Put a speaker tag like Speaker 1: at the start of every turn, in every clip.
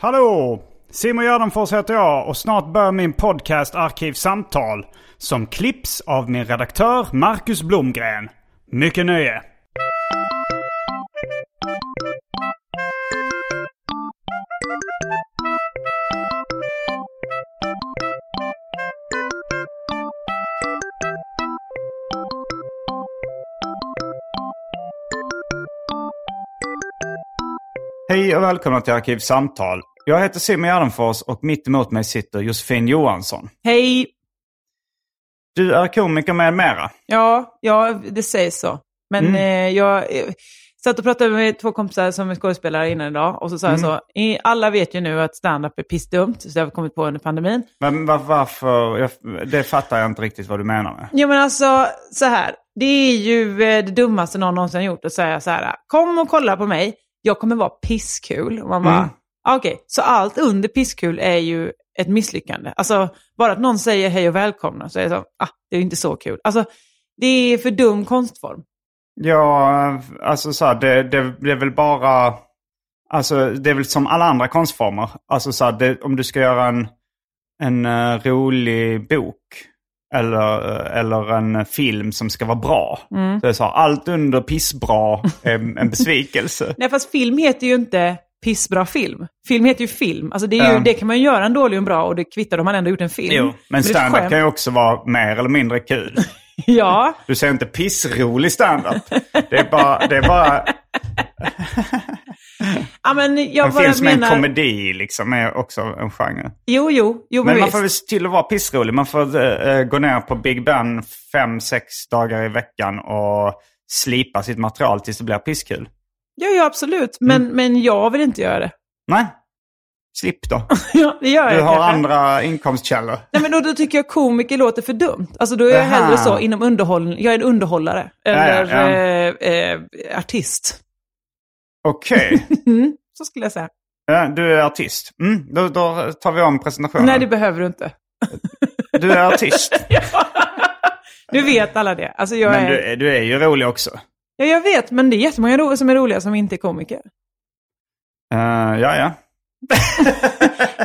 Speaker 1: Hallå! Simon Gärdenfors heter jag och snart börjar min podcast Arkivsamtal som klipps av min redaktör Marcus Blomgren. Mycket nöje! Hej och välkomna till Arkivsamtal. Jag heter Simon Gärdenfors och mitt emot mig sitter Josefin Johansson.
Speaker 2: Hej!
Speaker 1: Du är komiker med mera.
Speaker 2: Ja, ja det sägs så. Men eh, jag eh, satt och pratade med två kompisar som är skådespelare innan idag och så sa jag så, "I- alla vet ju nu att stand-up är pissdumt, så det har vi kommit på under pandemin.
Speaker 1: Men var, varför? Jag, det fattar jag inte riktigt vad du menar med.
Speaker 2: Jo men alltså, så här, det är ju eh, det dummaste någon någonsin har gjort att säga så här, kom och kolla på mig, jag kommer vara pisskul. Och man bara,
Speaker 1: Mm.
Speaker 2: "Ah, okej, så allt under pisskul är ju ett misslyckande. Alltså, bara att någon säger hej och välkomna så är det så, ah, det är ju inte så kul. Alltså, det är för dum konstform.
Speaker 1: Ja, alltså så här, det, det, det är väl bara... Alltså det är väl som alla andra konstformer. Alltså så här, det, om du ska göra en, en eh, rolig bok eller, eh, eller en film som ska vara bra.
Speaker 2: Mm.
Speaker 1: Så det är så här, allt under pissbra är en besvikelse.
Speaker 2: Nej, fast film heter ju inte pissbra film. Film heter ju film. Alltså det, är ju,
Speaker 1: Ja.
Speaker 2: det kan man ju göra en dålig och en bra och det kvittar om man ändå gjort en film.
Speaker 1: Men
Speaker 2: det är ett
Speaker 1: standup
Speaker 2: skämt.
Speaker 1: kan ju också vara mer eller mindre kul.
Speaker 2: Ja,
Speaker 1: Du säger inte pissrolig standup. Det är bara, det är bara
Speaker 2: ja men
Speaker 1: en
Speaker 2: jag
Speaker 1: film
Speaker 2: bara
Speaker 1: som är en
Speaker 2: menar...
Speaker 1: komedi liksom, är också en genre.
Speaker 2: Jo, jo, jo men
Speaker 1: Men man
Speaker 2: visst.
Speaker 1: får väl se till att vara pissrolig. Man får eh, gå ner på Big Ben fem, sex dagar i veckan och slipa sitt material tills det blir pisskul.
Speaker 2: Ja, ja, absolut. Men,
Speaker 1: Mm.
Speaker 2: men jag vill inte göra det.
Speaker 1: Nej, slipp då.
Speaker 2: ja, det gör
Speaker 1: Du
Speaker 2: jag
Speaker 1: har
Speaker 2: kanske.
Speaker 1: andra inkomstkällor.
Speaker 2: Nej, men då, då tycker jag komiker låter för dumt. Alltså då är jag
Speaker 1: Aha.
Speaker 2: hellre så inom underhållning. Jag är en underhållare. Eller
Speaker 1: ja.
Speaker 2: Eh, eh, artist.
Speaker 1: Okej,
Speaker 2: Mm, så skulle jag säga.
Speaker 1: Ja, du är artist. Mm, då, då tar vi om presentationen.
Speaker 2: Nej, det behöver du inte.
Speaker 1: Du är artist,
Speaker 2: Nu vet alla det. Alltså, jag
Speaker 1: men
Speaker 2: är...
Speaker 1: du, är- du är ju rolig också.
Speaker 2: Ja, jag vet, men det är jättemånga ro- som är roliga som inte är komiker.
Speaker 1: Eh, ja, ja.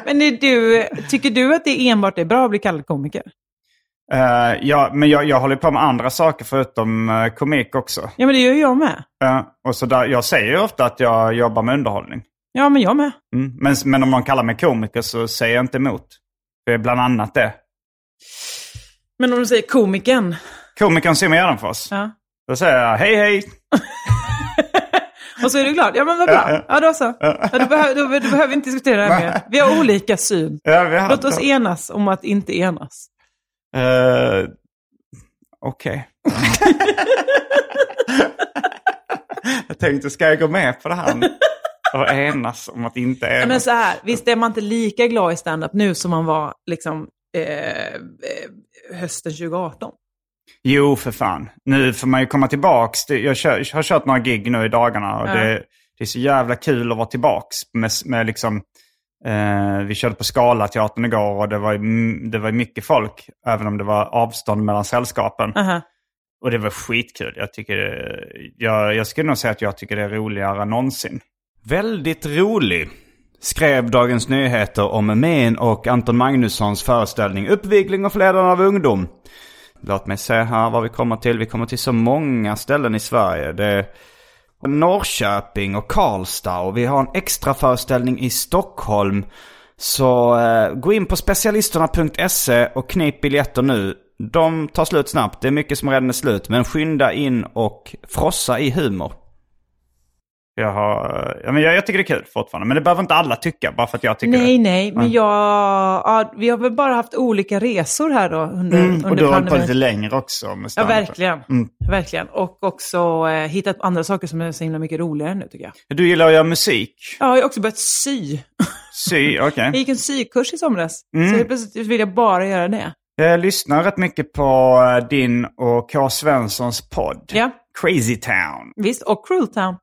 Speaker 2: Men är du, tycker du att det enbart är bra att bli kallad komiker?
Speaker 1: Eh, ja, men jag, jag håller på med andra saker förutom eh, komik också.
Speaker 2: Ja, men det gör jag med.
Speaker 1: Eh, och så där, jag säger ju ofta att jag jobbar med underhållning.
Speaker 2: Ja, men jag med.
Speaker 1: Mm. Men, men om någon kallar mig komiker så säger jag inte emot. Det är bland annat det.
Speaker 2: Men om du säger komikern,
Speaker 1: Komikern Simon Gärdenfors.
Speaker 2: ja.
Speaker 1: Då säger jag hej hej.
Speaker 2: och så är du glad. Ja, men vad bra. Ja, då så. Ja, du, behö- du, du behöver inte diskutera det här mer. Vi har olika syn.
Speaker 1: Ja, vi har-
Speaker 2: Låt oss enas om att inte enas.
Speaker 1: Eh, Okej. jag tänkte, ska jag gå med på det här nu? Och enas om att inte
Speaker 2: Ja, Men
Speaker 1: enas?
Speaker 2: så här, visst är man inte lika glad i stand-up nu som man var liksom, eh, eh, hösten 2018?
Speaker 1: Jo, för fan. Nu får man ju komma tillbaks. Det- Jag, kör, jag har kört några gig nu i dagarna och
Speaker 2: Ja.
Speaker 1: det, det är så jävla kul att vara tillbaks med, med liksom... Eh, vi körde på Scalateatern igår och det var, ju m- det var ju mycket folk, även om det var avstånd mellan sällskapen.
Speaker 2: Aha.
Speaker 1: Och det var skitkul. Jag, tycker, eh, jag, jag skulle nog säga att jag tycker det är roligare än någonsin.
Speaker 3: Väldigt rolig, skrev Dagens Nyheter om Emin och Anton Magnussons föreställning Uppvigling och förledaren av ungdom. Låt mig se här vad vi kommer till. Vi kommer till så många ställen i Sverige. Det, och Norrköping och Karlstad och vi har en extra föreställning i Stockholm. Så eh, gå in på specialisterna.se och knip biljetter nu. De tar slut snabbt. Det är mycket som redan är slut. Men skynda in och frossa i humor.
Speaker 1: Jag, har, ja, men jag, jag tycker det är kul fortfarande. Men det behöver inte alla tycka bara för att jag tycker
Speaker 2: Nej,
Speaker 1: det.
Speaker 2: nej, men jag, ja, vi har väl bara haft olika resor här då under,
Speaker 1: Mm,
Speaker 2: under
Speaker 1: och du har hållit på
Speaker 2: pandemin.
Speaker 1: lite längre Mm. också. Med
Speaker 2: Ja,
Speaker 1: stand-up.
Speaker 2: verkligen. verkligen. Och också eh, hittat andra saker som är så himla mycket roligare nu tycker jag.
Speaker 1: Du gillar att göra musik.
Speaker 2: Ja, jag har också börjat sy.
Speaker 1: Sy, okej.
Speaker 2: Jag gick en sykurs i somras.
Speaker 1: Mm.
Speaker 2: Så helt plötsligt vill jag bara göra det.
Speaker 1: Jag lyssnar rätt mycket på eh, din och K. Svenssons podd.
Speaker 2: Ja,
Speaker 1: Crazy Town.
Speaker 2: visst. Och Cruel Town.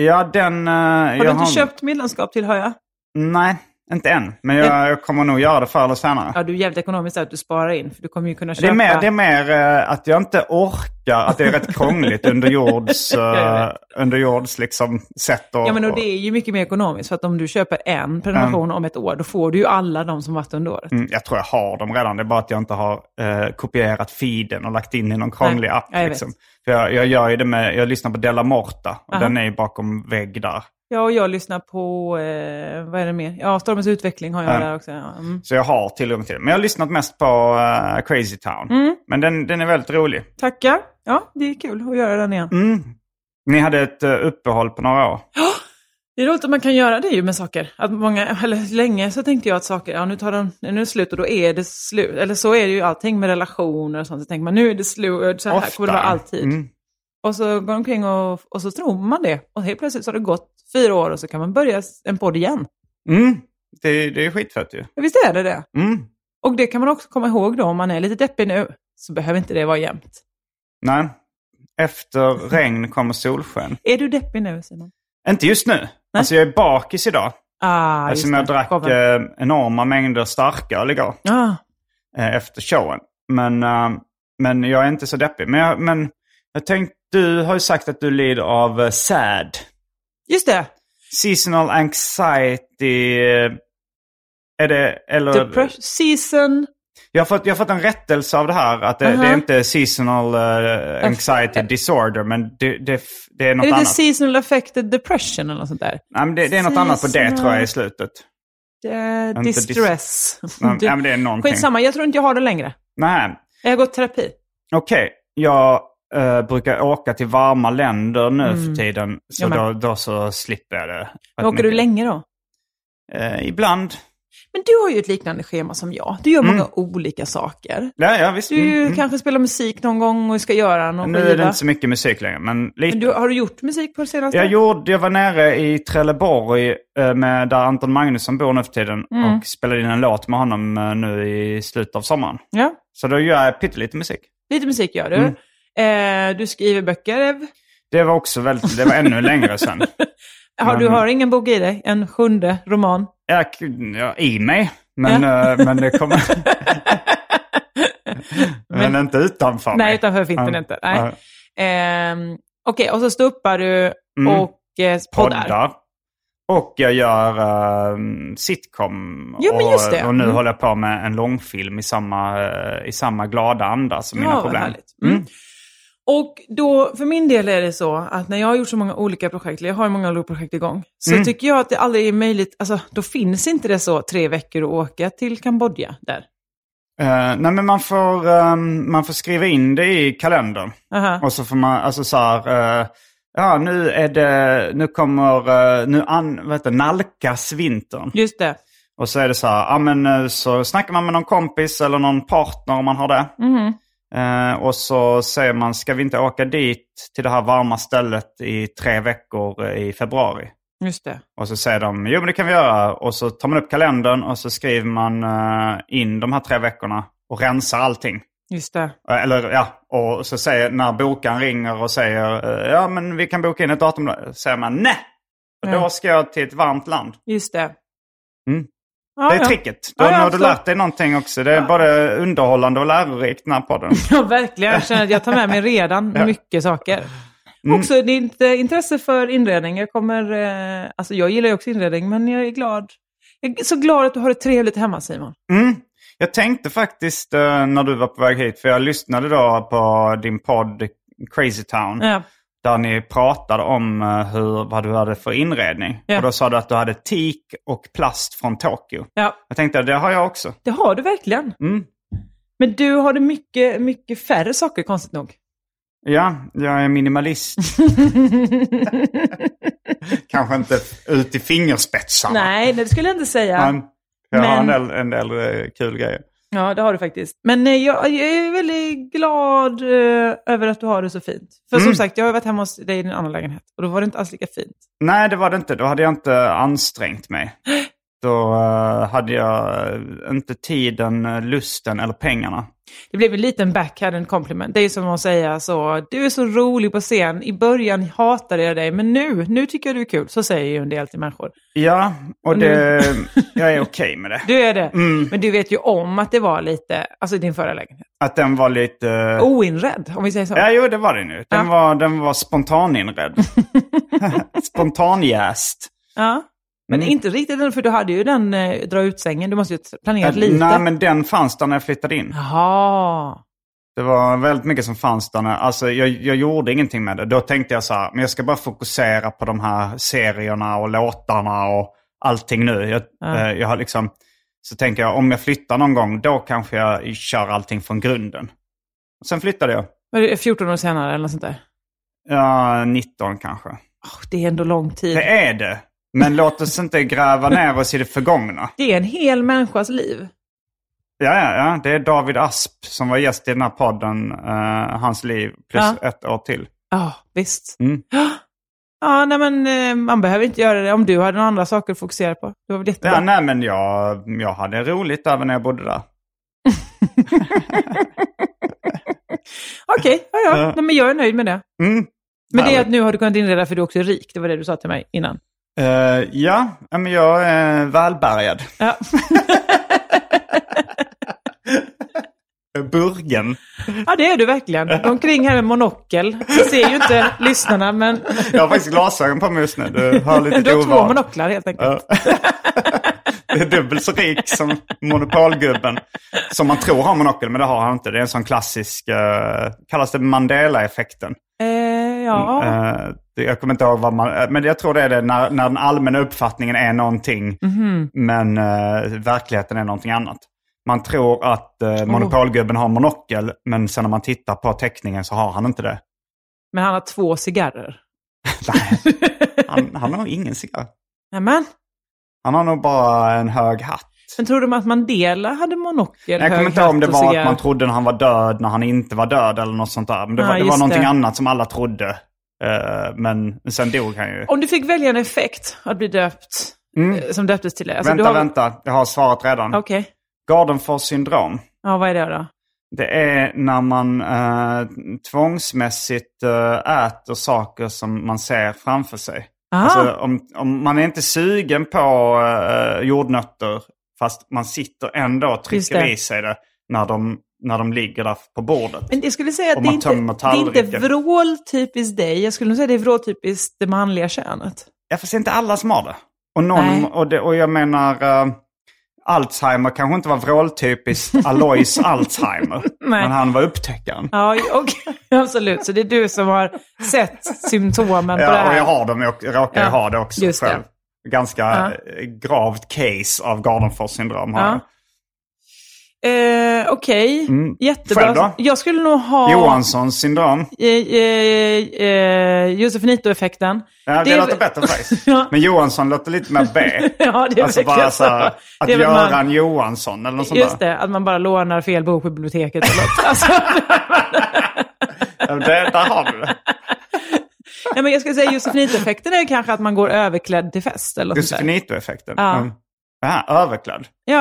Speaker 1: Ja, den... eh,
Speaker 2: Har
Speaker 1: jag
Speaker 2: du inte köpt medlemskap till Höja?
Speaker 1: Nej, inte än. Men jag, jag kommer nog göra det förr eller senare.
Speaker 2: Ja, du är jävligt ekonomiskt att du sparar in. För du kommer ju kunna köpa.
Speaker 1: Det är mer, det är mer eh, att jag inte orkar, att det är rätt krångligt under jords,
Speaker 2: Jag
Speaker 1: eh, under jords liksom, sätt att...
Speaker 2: Ja, men och det är ju mycket mer ekonomiskt. För att om du köper en prenumeration om ett år, då får du ju alla de som varit under året.
Speaker 1: Mm, Jag tror jag har dem redan, det är bara att jag inte har eh, kopierat feeden och lagt in i någon krånglig
Speaker 2: Nej,
Speaker 1: app.
Speaker 2: jag vet.
Speaker 1: liksom. För jag, jag gör ju det med, jag lyssnar på Della Morta och
Speaker 2: Aha.
Speaker 1: den är ju bakom vägg där.
Speaker 2: Ja, och jag lyssnar på, eh, vad är det mer? Ja, Stormens utveckling har jag
Speaker 1: Ja.
Speaker 2: där också. Ja, mm.
Speaker 1: Så jag har tillgång till det. Men jag har lyssnat mest på eh, Crazy Town.
Speaker 2: Mm.
Speaker 1: Men den, den är väldigt rolig.
Speaker 2: Tackar. Ja, det är kul att göra den igen.
Speaker 1: Mm. Ni hade ett eh, uppehåll på några år.
Speaker 2: Det är roligt att man kan göra det ju med saker. Att många, eller länge så tänkte jag att saker, ja nu tar de, nu är det slut och då är det slut. Eller så är det ju allting med relationer och sånt. Så tänker man nu är det slut, så här kommer det vara alltid.
Speaker 1: Mm.
Speaker 2: Och så går de omkring och, och så tror man det. Och helt plötsligt så har det gått fyra år och så kan man börja en podd igen.
Speaker 1: Mm. Det, det är skitfett ju.
Speaker 2: Ja, Visst är det det?
Speaker 1: Mm.
Speaker 2: Och det kan man också komma ihåg då om man är lite deppig nu. Så behöver inte det vara jämnt.
Speaker 1: Nej. Efter regn kommer solsken.
Speaker 2: Är du deppig nu Simon?
Speaker 1: Inte just nu. Alltså jag är bakis idag.
Speaker 2: Ah, just
Speaker 1: Eftersom Alltså, jag
Speaker 2: det.
Speaker 1: drack
Speaker 2: Gav en-
Speaker 1: eh, enorma mängder starköl igår.
Speaker 2: Ah,
Speaker 1: eh, efter showen. Men, eh, men jag är inte så deppig. Men jag, men jag tänkte, du har ju sagt att du lider av eh, SAD.
Speaker 2: just det.
Speaker 1: Seasonal anxiety. eh, Är det, eller?
Speaker 2: Depression. Season.
Speaker 1: Jag har, fått, jag har fått en rättelse av det här. Att det,
Speaker 2: Aha.
Speaker 1: det är inte seasonal eh, anxiety disorder. Men det, det, det är något
Speaker 2: Är det
Speaker 1: annat.
Speaker 2: inte seasonal affected depression eller något sånt där?
Speaker 1: Nej, men det, det är något annat på det
Speaker 2: Seasonal-
Speaker 1: tror jag i slutet.
Speaker 2: Eh,
Speaker 1: dis-
Speaker 2: distress.
Speaker 1: Nej, men det är någonting.
Speaker 2: Skitsamma, jag tror inte jag har det längre.
Speaker 1: Nej,
Speaker 2: Jag har gått terapi.
Speaker 1: Okej, jag eh, brukar åka till varma länder nu för tiden. Så
Speaker 2: Mm. Ja, men-
Speaker 1: då, då så slipper jag det.
Speaker 2: Men Åker du länge då?
Speaker 1: Eh, ibland.
Speaker 2: Men du har ju ett liknande schema som jag. Du gör många olika saker.
Speaker 1: Ja, ja visst.
Speaker 2: Du
Speaker 1: Mm, mm.
Speaker 2: kanske spelar musik någon gång och ska göra någon
Speaker 1: Nu
Speaker 2: skiva.
Speaker 1: är det inte så mycket musik längre, men lite.
Speaker 2: Men du, har du gjort musik på det senaste?
Speaker 1: jag, gjorde, jag var nere i Trelleborg, eh, med, där Anton Magnusson bor nu för tiden,
Speaker 2: Mm.
Speaker 1: och spelade in en låt med honom eh, nu i slutet av sommaren.
Speaker 2: Ja,
Speaker 1: Så då gör jag pyttelite musik.
Speaker 2: lite musik gör du.
Speaker 1: Mm.
Speaker 2: Eh, du skriver böcker, Ev.
Speaker 1: Det var också väldigt, det var ännu längre sedan.
Speaker 2: Har, Du
Speaker 1: Men-
Speaker 2: har ingen bok i dig? En sjunde roman?
Speaker 1: Jag, jag, I mig, men, eh, men det kommer... men, inte utanför mig.
Speaker 2: Nej, utanför finns den
Speaker 1: Ja,
Speaker 2: inte. Nej.
Speaker 1: ja.
Speaker 2: Ehm, Okej, och så ståuppar du
Speaker 1: Mm.
Speaker 2: och eh, poddar.
Speaker 1: poddar. Och jag gör eh, sitcom.
Speaker 2: Ja, men
Speaker 1: och,
Speaker 2: just det.
Speaker 1: och nu
Speaker 2: Mm.
Speaker 1: håller jag på med en långfilm i samma, eh, i samma glada anda som mina
Speaker 2: vad
Speaker 1: problem.
Speaker 2: härligt. Mm. Och då, för min del är det så att när jag har gjort så många olika projekt, eller jag har många olika projekt igång, så
Speaker 1: Mm.
Speaker 2: tycker jag att det aldrig är möjligt, alltså då finns inte det så tre veckor att åka till Kambodja där.
Speaker 1: Eh, nej, men man får, eh, man får skriva in det i kalendern.
Speaker 2: Aha.
Speaker 1: Och så får man, alltså så här, eh, ja nu är det, nu kommer, eh, nu an, vad heter, det, nalkas vintern.
Speaker 2: Just det.
Speaker 1: Och så är det så här, ja men eh, så snackar man med någon kompis eller någon partner om man har det.
Speaker 2: Mhm.
Speaker 1: Eh, och så säger man, ska vi inte åka dit till det här varma stället i tre veckor eh, i februari?
Speaker 2: Just det.
Speaker 1: Och så säger de, jo men det kan vi göra. Och så tar man upp kalendern och så skriver man eh, in de här tre veckorna och rensar allting.
Speaker 2: Just det.
Speaker 1: Eh, Eller ja, och så säger, när bokaren ringer och säger, eh, ja men vi kan boka in ett datum. då", Säger man, nej! För
Speaker 2: Ja.
Speaker 1: då ska jag till ett varmt land.
Speaker 2: Just det.
Speaker 1: Mm.
Speaker 2: Ja,
Speaker 1: Det är
Speaker 2: ja.
Speaker 1: tricket. Då,
Speaker 2: Ja, ja,
Speaker 1: nu har du
Speaker 2: absolut.
Speaker 1: lärt dig någonting också. Det är både underhållande och lärorikt den här podden.
Speaker 2: Ja, verkligen. Jag känner att jag tar med mig redan mycket saker. Också ditt eh, intresse för inredning. Jag kommer, eh, alltså jag gillar ju också inredning, men jag är glad. Jag är så glad att du har det trevligt hemma Simon.
Speaker 1: Mm. Jag tänkte faktiskt eh, när du var på väg hit, för jag lyssnade då på din podd Crazy Town.
Speaker 2: Ja.
Speaker 1: Där ni pratade om eh, hur, vad du hade för inredning.
Speaker 2: Ja.
Speaker 1: Och då sa du att du hade teak och plast från Tokyo.
Speaker 2: Ja,
Speaker 1: Jag tänkte det har jag också.
Speaker 2: det har du verkligen.
Speaker 1: Mm.
Speaker 2: Men du har det mycket, mycket färre saker konstigt nog.
Speaker 1: Ja, jag är minimalist. Kanske inte ut i fingerspetsarna.
Speaker 2: Nej, det skulle jag inte säga.
Speaker 1: Men jag har en
Speaker 2: Men-
Speaker 1: del, en del eh, kul grejer.
Speaker 2: Ja, det har du faktiskt. Men eh, jag, jag är väldigt glad eh, över att du har det så fint. För som sagt, jag har ju varit hemma hos dig i din andra lägenhet och då var det inte alls lika fint.
Speaker 1: Nej, det var det inte. Då hade jag inte ansträngt mig. Då eh, hade jag eh, inte tiden, eh, lusten eller pengarna.
Speaker 2: Det blev en liten backhand compliment. Det är ju som att säga så, du är så rolig på scen. I början hatade jag dig, men nu, nu tycker jag du är kul. Så säger ju en del till människor.
Speaker 1: Ja, och det, jag är okej med det.
Speaker 2: Du är det.
Speaker 1: Mm.
Speaker 2: Men du vet ju om att det var lite, alltså i din förra lägenhet,
Speaker 1: Att den var lite...
Speaker 2: oinredd, om vi säger så.
Speaker 1: Ja, jo, det var det nu. Den
Speaker 2: Oh, Ja.
Speaker 1: var, den var spontaninredd. Spontanjäst.
Speaker 2: Ja. Men inte riktigt, än, för du hade ju den eh, dra ut sängen. Du måste ju planera lite.
Speaker 1: Nej, men den fanns där när jag flyttade in.
Speaker 2: Jaha.
Speaker 1: Det var väldigt mycket som fanns där. när- Alltså, jag, jag gjorde ingenting med det. Då tänkte jag så här, men jag ska bara fokusera på de här serierna och låtarna och allting nu. Jag,
Speaker 2: Ja.
Speaker 1: eh, jag har liksom, så tänker jag, om jag flyttar någon gång, då kanske jag kör allting från grunden. Sen flyttade jag.
Speaker 2: Var det 14 år senare eller något sånt där?
Speaker 1: Ja, 19 kanske.
Speaker 2: Åh, det är ändå lång tid.
Speaker 1: Det är det. Men låt oss inte gräva ner oss i det förgångna.
Speaker 2: Det är en hel människas liv.
Speaker 1: Ja, ja, ja. Det är David Asp som var gäst i den här podden, eh, hans liv, plus ett år till.
Speaker 2: Ja, visst.
Speaker 1: Mm.
Speaker 2: Ja, nej men eh, man behöver inte göra det om du hade några andra saker att fokusera på. Det var väl jättebra.
Speaker 1: Ja, nej, men jag, jag hade roligt även när jag bodde där.
Speaker 2: Okej, ja, ja.
Speaker 1: Ja.
Speaker 2: Nej, men jag är nöjd med det.
Speaker 1: Mm.
Speaker 2: Men det är
Speaker 1: Härligt.
Speaker 2: att nu har du kunnat inreda för du också är rik. Det var det du sa till mig innan.
Speaker 1: Eh, ja, ja, men jag är välbärgad.
Speaker 2: Ja.
Speaker 1: Burgen.
Speaker 2: ja, det är du verkligen. Du går omkring här med monokel. Det ser ju inte lyssnarna, men
Speaker 1: Jag har faktiskt glasögon på mig just nu. Du har lite
Speaker 2: du har två
Speaker 1: ovan.
Speaker 2: monoklar helt enkelt.
Speaker 1: Ja. Det är dubbelt så rik som monopolgubben. Som man tror har monokel, men det har han inte. Det är en sån klassisk, eh, kallas det Mandela-effekten.
Speaker 2: Eh, ja.
Speaker 1: Eh, det- jag kommer inte ihåg vad man, eh, men jag tror det är det när, när den allmänna uppfattningen är någonting,
Speaker 2: Mhm.
Speaker 1: men eh, verkligheten är någonting annat. Man tror att
Speaker 2: Oh.
Speaker 1: eh, monopolgubben har monokel, men sen när man tittar på teckningen så har han inte det.
Speaker 2: Men han har två cigarrer.
Speaker 1: Nej, han, han har nog ingen cigarr.
Speaker 2: Nämen.
Speaker 1: Han har nog bara en hög hatt.
Speaker 2: Men tror de att Mandela hade
Speaker 1: Jag
Speaker 2: monokel?
Speaker 1: kommer
Speaker 2: hög
Speaker 1: inte ihåg om det
Speaker 2: hatt och
Speaker 1: var
Speaker 2: cigarr?
Speaker 1: att man trodde när han var död, när han inte var död eller något sånt där. Men det,
Speaker 2: Ja,
Speaker 1: var, det var
Speaker 2: just
Speaker 1: någonting
Speaker 2: det.
Speaker 1: annat som alla trodde. Eh, men sen dog han ju. Mm.
Speaker 2: Om du fick välja en effekt att bli döpt, eh, som döptes till det. Alltså,
Speaker 1: vänta,
Speaker 2: du har-
Speaker 1: vänta. Jag har svaret redan.
Speaker 2: Okej.
Speaker 1: Gardenfors syndrom.
Speaker 2: Ja, vad är det då?
Speaker 1: Det är när man eh, tvångsmässigt eh, äter saker som man ser framför sig.
Speaker 2: Aha.
Speaker 1: Alltså, om, om man är inte sugen på eh, jordnötter fast man sitter ändå och
Speaker 2: Just
Speaker 1: trycker
Speaker 2: det.
Speaker 1: i sig det när de, när de ligger där på bordet.
Speaker 2: Men jag skulle säga att
Speaker 1: Om
Speaker 2: det är,
Speaker 1: man
Speaker 2: inte,
Speaker 1: tömmer
Speaker 2: det är inte
Speaker 1: tallriken. eh, eh,
Speaker 2: Eh,
Speaker 1: Mm.
Speaker 2: Eh,
Speaker 1: Alltså, Mm. eh,
Speaker 2: liksom, eh,
Speaker 1: veckan!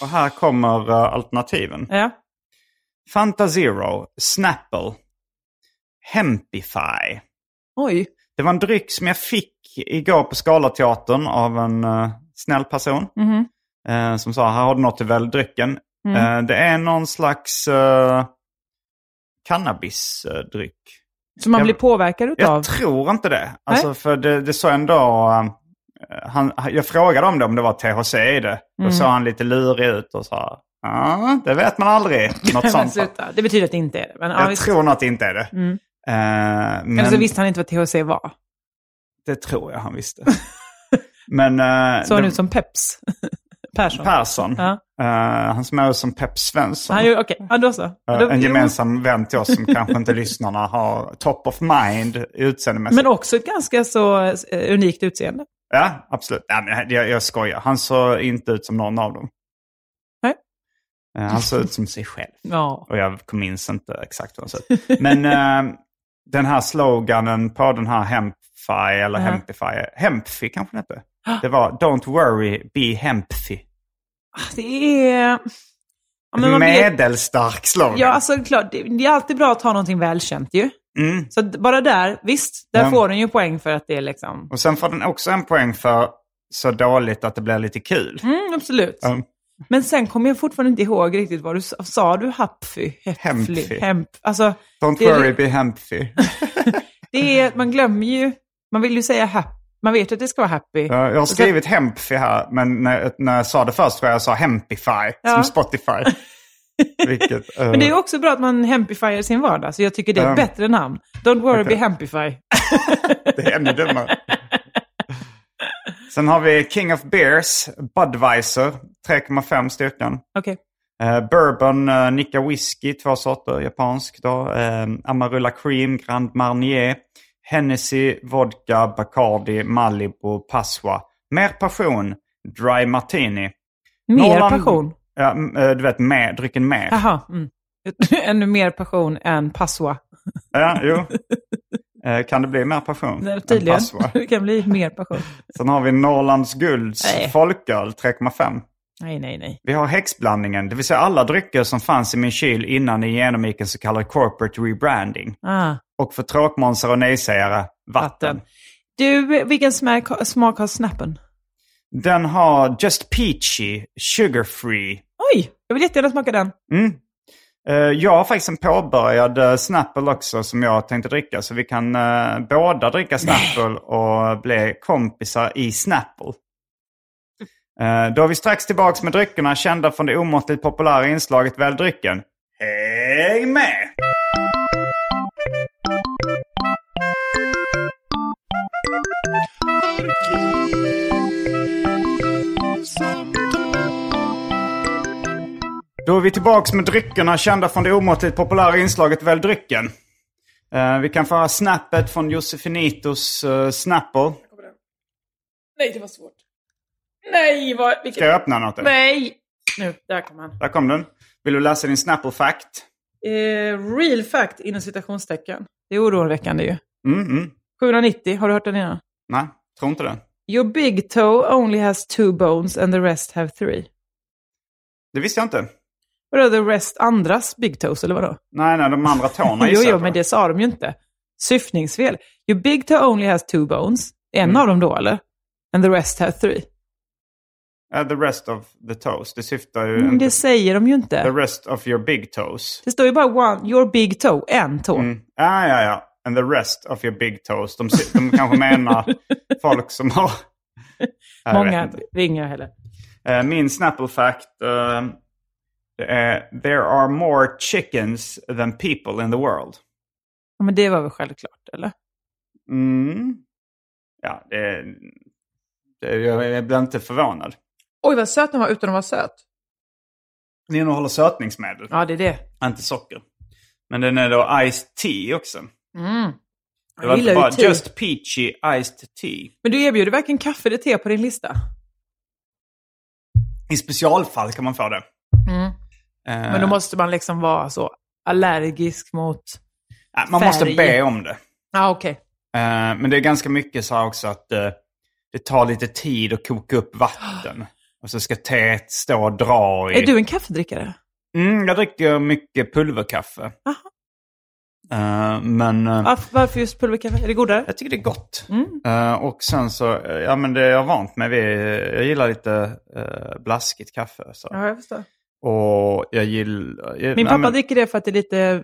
Speaker 1: Och här kommer eh, alternativen.
Speaker 2: Ja.
Speaker 1: Fanta Zero, Snapple, Hempify.
Speaker 2: Oj.
Speaker 1: Det var en dryck som jag fick igår på Scalateatern av en eh, snäll person.
Speaker 2: Mhm.
Speaker 1: eh, som sa här har du något till väl drycken.
Speaker 2: Mm.
Speaker 1: Eh, det är någon slags eh, cannabisdryck.
Speaker 2: Som man
Speaker 1: Jag-
Speaker 2: blir påverkad
Speaker 1: Jag
Speaker 2: utav?
Speaker 1: tror inte det. Alltså, för det, det sa ändå... eh, Han, han- jag frågade om det, om det var THC i det. Då
Speaker 2: Mm.
Speaker 1: såg han lite lurig ut och sa ja, det vet man aldrig. Något
Speaker 2: Men
Speaker 1: sånt.
Speaker 2: sluta. Det betyder att det inte är det. Men, ja,
Speaker 1: Jag
Speaker 2: visst.
Speaker 1: tror nog att det inte är det.
Speaker 2: Mm. Alltså,
Speaker 1: Eh, men
Speaker 2: Eller så visste han inte vad THC var.
Speaker 1: det tror jag han visste. men... eh,
Speaker 2: Såg han
Speaker 1: det-
Speaker 2: ut som Peps? Persson?
Speaker 1: Persson.
Speaker 2: Ja.
Speaker 1: eh, han som är som Pep Svensson.
Speaker 2: Han gjorde, okej, ja, då så.
Speaker 1: Eh,
Speaker 2: då,
Speaker 1: en gemensam vän till oss som kanske inte lyssnarna har top of mind utseendemässigt.
Speaker 2: Men också ett ganska så eh, unikt utseende.
Speaker 1: Ja, absolut. Ja, men jag, jag skojar. Han såg inte ut som någon av dem.
Speaker 2: Nej.
Speaker 1: Eh, Han såg ut som sig själv.
Speaker 2: Ja.
Speaker 1: Och jag minns inte exakt hur han såg ut. Men eh, den här sloganen på den här Hempfi, eller
Speaker 2: Ja.
Speaker 1: Hempify, Hempfi kanske den hette. Det var Don't worry, be Hempfi.
Speaker 2: Det är... Ja, men man blir,
Speaker 1: Medelstark slogan.
Speaker 2: ja alltså det är klart, det, det är alltid bra att ha någonting välkänt ju.
Speaker 1: mm.
Speaker 2: Så att bara där, visst, där
Speaker 1: Ja.
Speaker 2: får den ju poäng för att det är liksom...
Speaker 1: Och sen får den också en poäng för så dåligt att det blir lite kul.
Speaker 2: Mm, absolut.
Speaker 1: Mm.
Speaker 2: Men sen kommer jag fortfarande inte ihåg riktigt vad du sa. Sa du hapfy?
Speaker 1: Hempfy.
Speaker 2: Hemp. Alltså,
Speaker 1: Don't
Speaker 2: det är-
Speaker 1: worry, be hempy.
Speaker 2: Det är, man glömmer ju, man vill ju säga happy, man vet att det ska vara happy.
Speaker 1: Ja, Jag har skrivit hempfy här, men när, när jag sa det först tror jag jag sa hempify, som
Speaker 2: Ja.
Speaker 1: Spotify. Vilket, eh,
Speaker 2: Men det är också bra att man hempifierar sin vardag, så jag tycker det är ett
Speaker 1: Ja.
Speaker 2: bättre namn. Don't worry,
Speaker 1: Okej.
Speaker 2: be hempify.
Speaker 1: det är ännu dummare. Sen har vi King of Beers, Budweiser, 3,5 styrkan.
Speaker 2: Okej.
Speaker 1: Eh, bourbon, uh, Nika Whisky, två sorter, japansk då. Eh, Amarula Cream, Grand Marnier, Hennessy, Vodka, Bacardi, Malibu, Passoa. Mer passion, Dry Martini.
Speaker 2: Mer
Speaker 1: Norrland-
Speaker 2: passion.
Speaker 1: Ja, m- eh, du vet, mer, drycken mer.
Speaker 2: Jaha. Mm. Ännu mer passion än passoa.
Speaker 1: Ja, jo. Eh, kan det bli mer passion?
Speaker 2: Nej,
Speaker 1: än
Speaker 2: Tydligen.
Speaker 1: Passoa?
Speaker 2: Det kan bli mer passion.
Speaker 1: Sen har vi Norrlands Gulds
Speaker 2: Nej.
Speaker 1: folköl 3,5.
Speaker 2: Nej, nej, nej.
Speaker 1: Vi har häxblandningen, det vill säga alla drycker som fanns i min kyl innan ni genomgick en så kallad corporate rebranding.
Speaker 2: Ah,
Speaker 1: Och för tråkmånsar och nejsägare, vatten.
Speaker 2: vatten. Du, vilken smak, smak har snappen?
Speaker 1: Den har Just Peachy, Sugar Free.
Speaker 2: Oj, jag vill jättegärna smaka den.
Speaker 1: Mm. Eh, Jag har faktiskt en påbörjad eh, Snapple också som jag tänkte dricka. Så vi kan eh, båda dricka Snapple och bli kompisar i Snapple. Eh, Då är vi strax tillbaka med dryckerna kända från det omåttligt populära inslaget Väl drycken. Häng med! Då är vi tillbaka med dryckerna kända från det omåttligt populära inslaget Väl drycken. Eh, vi kan få höra snappet från Josefinitos uh, Snapple.
Speaker 2: Nej, det var svårt. Nej, vad... Vilket...
Speaker 1: Ska jag öppna något? eller?
Speaker 2: Nej! Nu, där kom han.
Speaker 1: Där kom den. Vill du läsa din Snapple fact?
Speaker 2: Eh, real fact, inom citationstecken. Det är oroväckande ju.
Speaker 1: Mm, mm.
Speaker 2: 790, har du hört den innan?
Speaker 1: Nej, tror inte det.
Speaker 2: Your big toe only has two bones and the rest have three.
Speaker 1: Det visste jag inte.
Speaker 2: Vadå, the rest andras big toes, eller vadå?
Speaker 1: Nej, nej, de andra tårna
Speaker 2: Jo,
Speaker 1: gissar
Speaker 2: jo,
Speaker 1: jag på.
Speaker 2: men det sa de ju inte. Syftningsfel. Your big toe only has two bones. En
Speaker 1: Mm.
Speaker 2: av dem då, eller? And the rest have three.
Speaker 1: Eh, the rest of the toes. Det syftar ju
Speaker 2: Men
Speaker 1: inte...
Speaker 2: Mm, det säger de ju
Speaker 1: Mm. The
Speaker 2: inte.
Speaker 1: rest of your big toes.
Speaker 2: Det står ju bara one, your big toe, en tå.
Speaker 1: Mm. Ah, ja, ja. And the rest of your big toes. De, sy- de kanske menar folk som har... Jag vet
Speaker 2: Många
Speaker 1: inte.
Speaker 2: ringer jag heller.
Speaker 1: Eh, min Snapple fact eh, det är There are more chickens than people in the world.
Speaker 2: Ja, men det var väl självklart, eller?
Speaker 1: Mm. Ja, det, det, jag, jag blir inte förvånad.
Speaker 2: Oj, vad söt den var utan att vara söt.
Speaker 1: Den innehåller sötningsmedel,
Speaker 2: Ja, det är det.
Speaker 1: inte socker. Men den är då iced tea också.
Speaker 2: Mm.
Speaker 1: Det
Speaker 2: Jag,
Speaker 1: var inte
Speaker 2: gillar ju
Speaker 1: bara
Speaker 2: te.
Speaker 1: just peachy iced tea.
Speaker 2: Men du erbjuder varken kaffe eller te på din lista.
Speaker 1: I specialfall kan man få det.
Speaker 2: Mm.
Speaker 1: Eh,
Speaker 2: Men då måste man liksom vara så allergisk mot...
Speaker 1: ja, man måste
Speaker 2: färg.
Speaker 1: be om det.
Speaker 2: Ja, ah, okej.
Speaker 1: Eh, men det är ganska mycket så här också att eh, det tar lite tid att koka upp vatten. Och så ska teet stå och dra i.
Speaker 2: Är du en kaffedrickare?
Speaker 1: Mm, jag dricker mycket pulverkaffe. Eh, men... eh,
Speaker 2: Varför, varför just pulverkaffe? Är det godare?
Speaker 1: Jag tycker det är gott.
Speaker 2: Mm.
Speaker 1: Eh, och sen så, eh, ja men det är jag vant med. Vi, jag gillar lite eh, blaskigt kaffe. Så.
Speaker 2: Ja, jag förstår.
Speaker 1: Och jag gillar... jag- nej,
Speaker 2: Min pappa
Speaker 1: Typ. men,
Speaker 2: dricker det för att det är lite eh,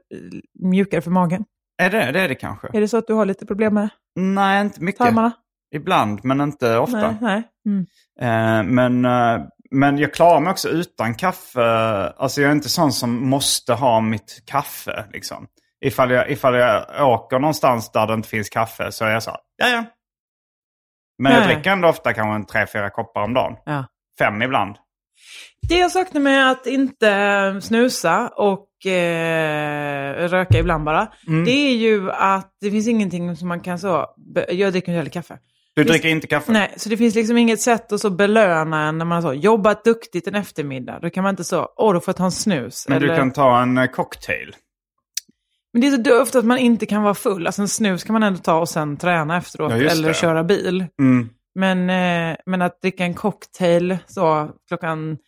Speaker 2: mjukare för magen.
Speaker 1: Är det det, är det kanske?
Speaker 2: Är det så att du har lite problem med
Speaker 1: Nej, inte mycket.
Speaker 2: tarmarna?
Speaker 1: Ibland, men inte ofta.
Speaker 2: Nej, nej. Mm.
Speaker 1: Eh, men, eh, men jag klarar mig också utan kaffe. Alltså jag är inte sån som måste ha mitt kaffe. Liksom. Ifall, jag, ifall jag åker någonstans där det inte finns kaffe så är jag så här, ja ja. Men jag
Speaker 2: Nej.
Speaker 1: dricker ändå ofta kanske en tre, fyra koppar om dagen.
Speaker 2: Ja.
Speaker 1: Fem ibland.
Speaker 2: Det jag saknar med att inte eh, snusa och eh, röka ibland bara,
Speaker 1: Mm.
Speaker 2: det är ju att det finns ingenting som man kan så... be- Jag dricker inte heller kaffe.
Speaker 1: Du
Speaker 2: Visst.
Speaker 1: dricker inte kaffe?
Speaker 2: Nej, så det finns liksom inget sätt att så belöna en när man har så jobbat duktigt en eftermiddag. Då kan man inte så, åh, då får jag ta en snus.
Speaker 1: Men du
Speaker 2: Eller-
Speaker 1: kan ta en eh, cocktail.
Speaker 2: Men det är så dumt att man inte kan vara full. Alltså en snus kan man ändå ta och sen träna efteråt
Speaker 1: Ja, just
Speaker 2: eller
Speaker 1: det.
Speaker 2: köra bil.
Speaker 1: Mm.
Speaker 2: Men, eh, men att dricka en cocktail så klockan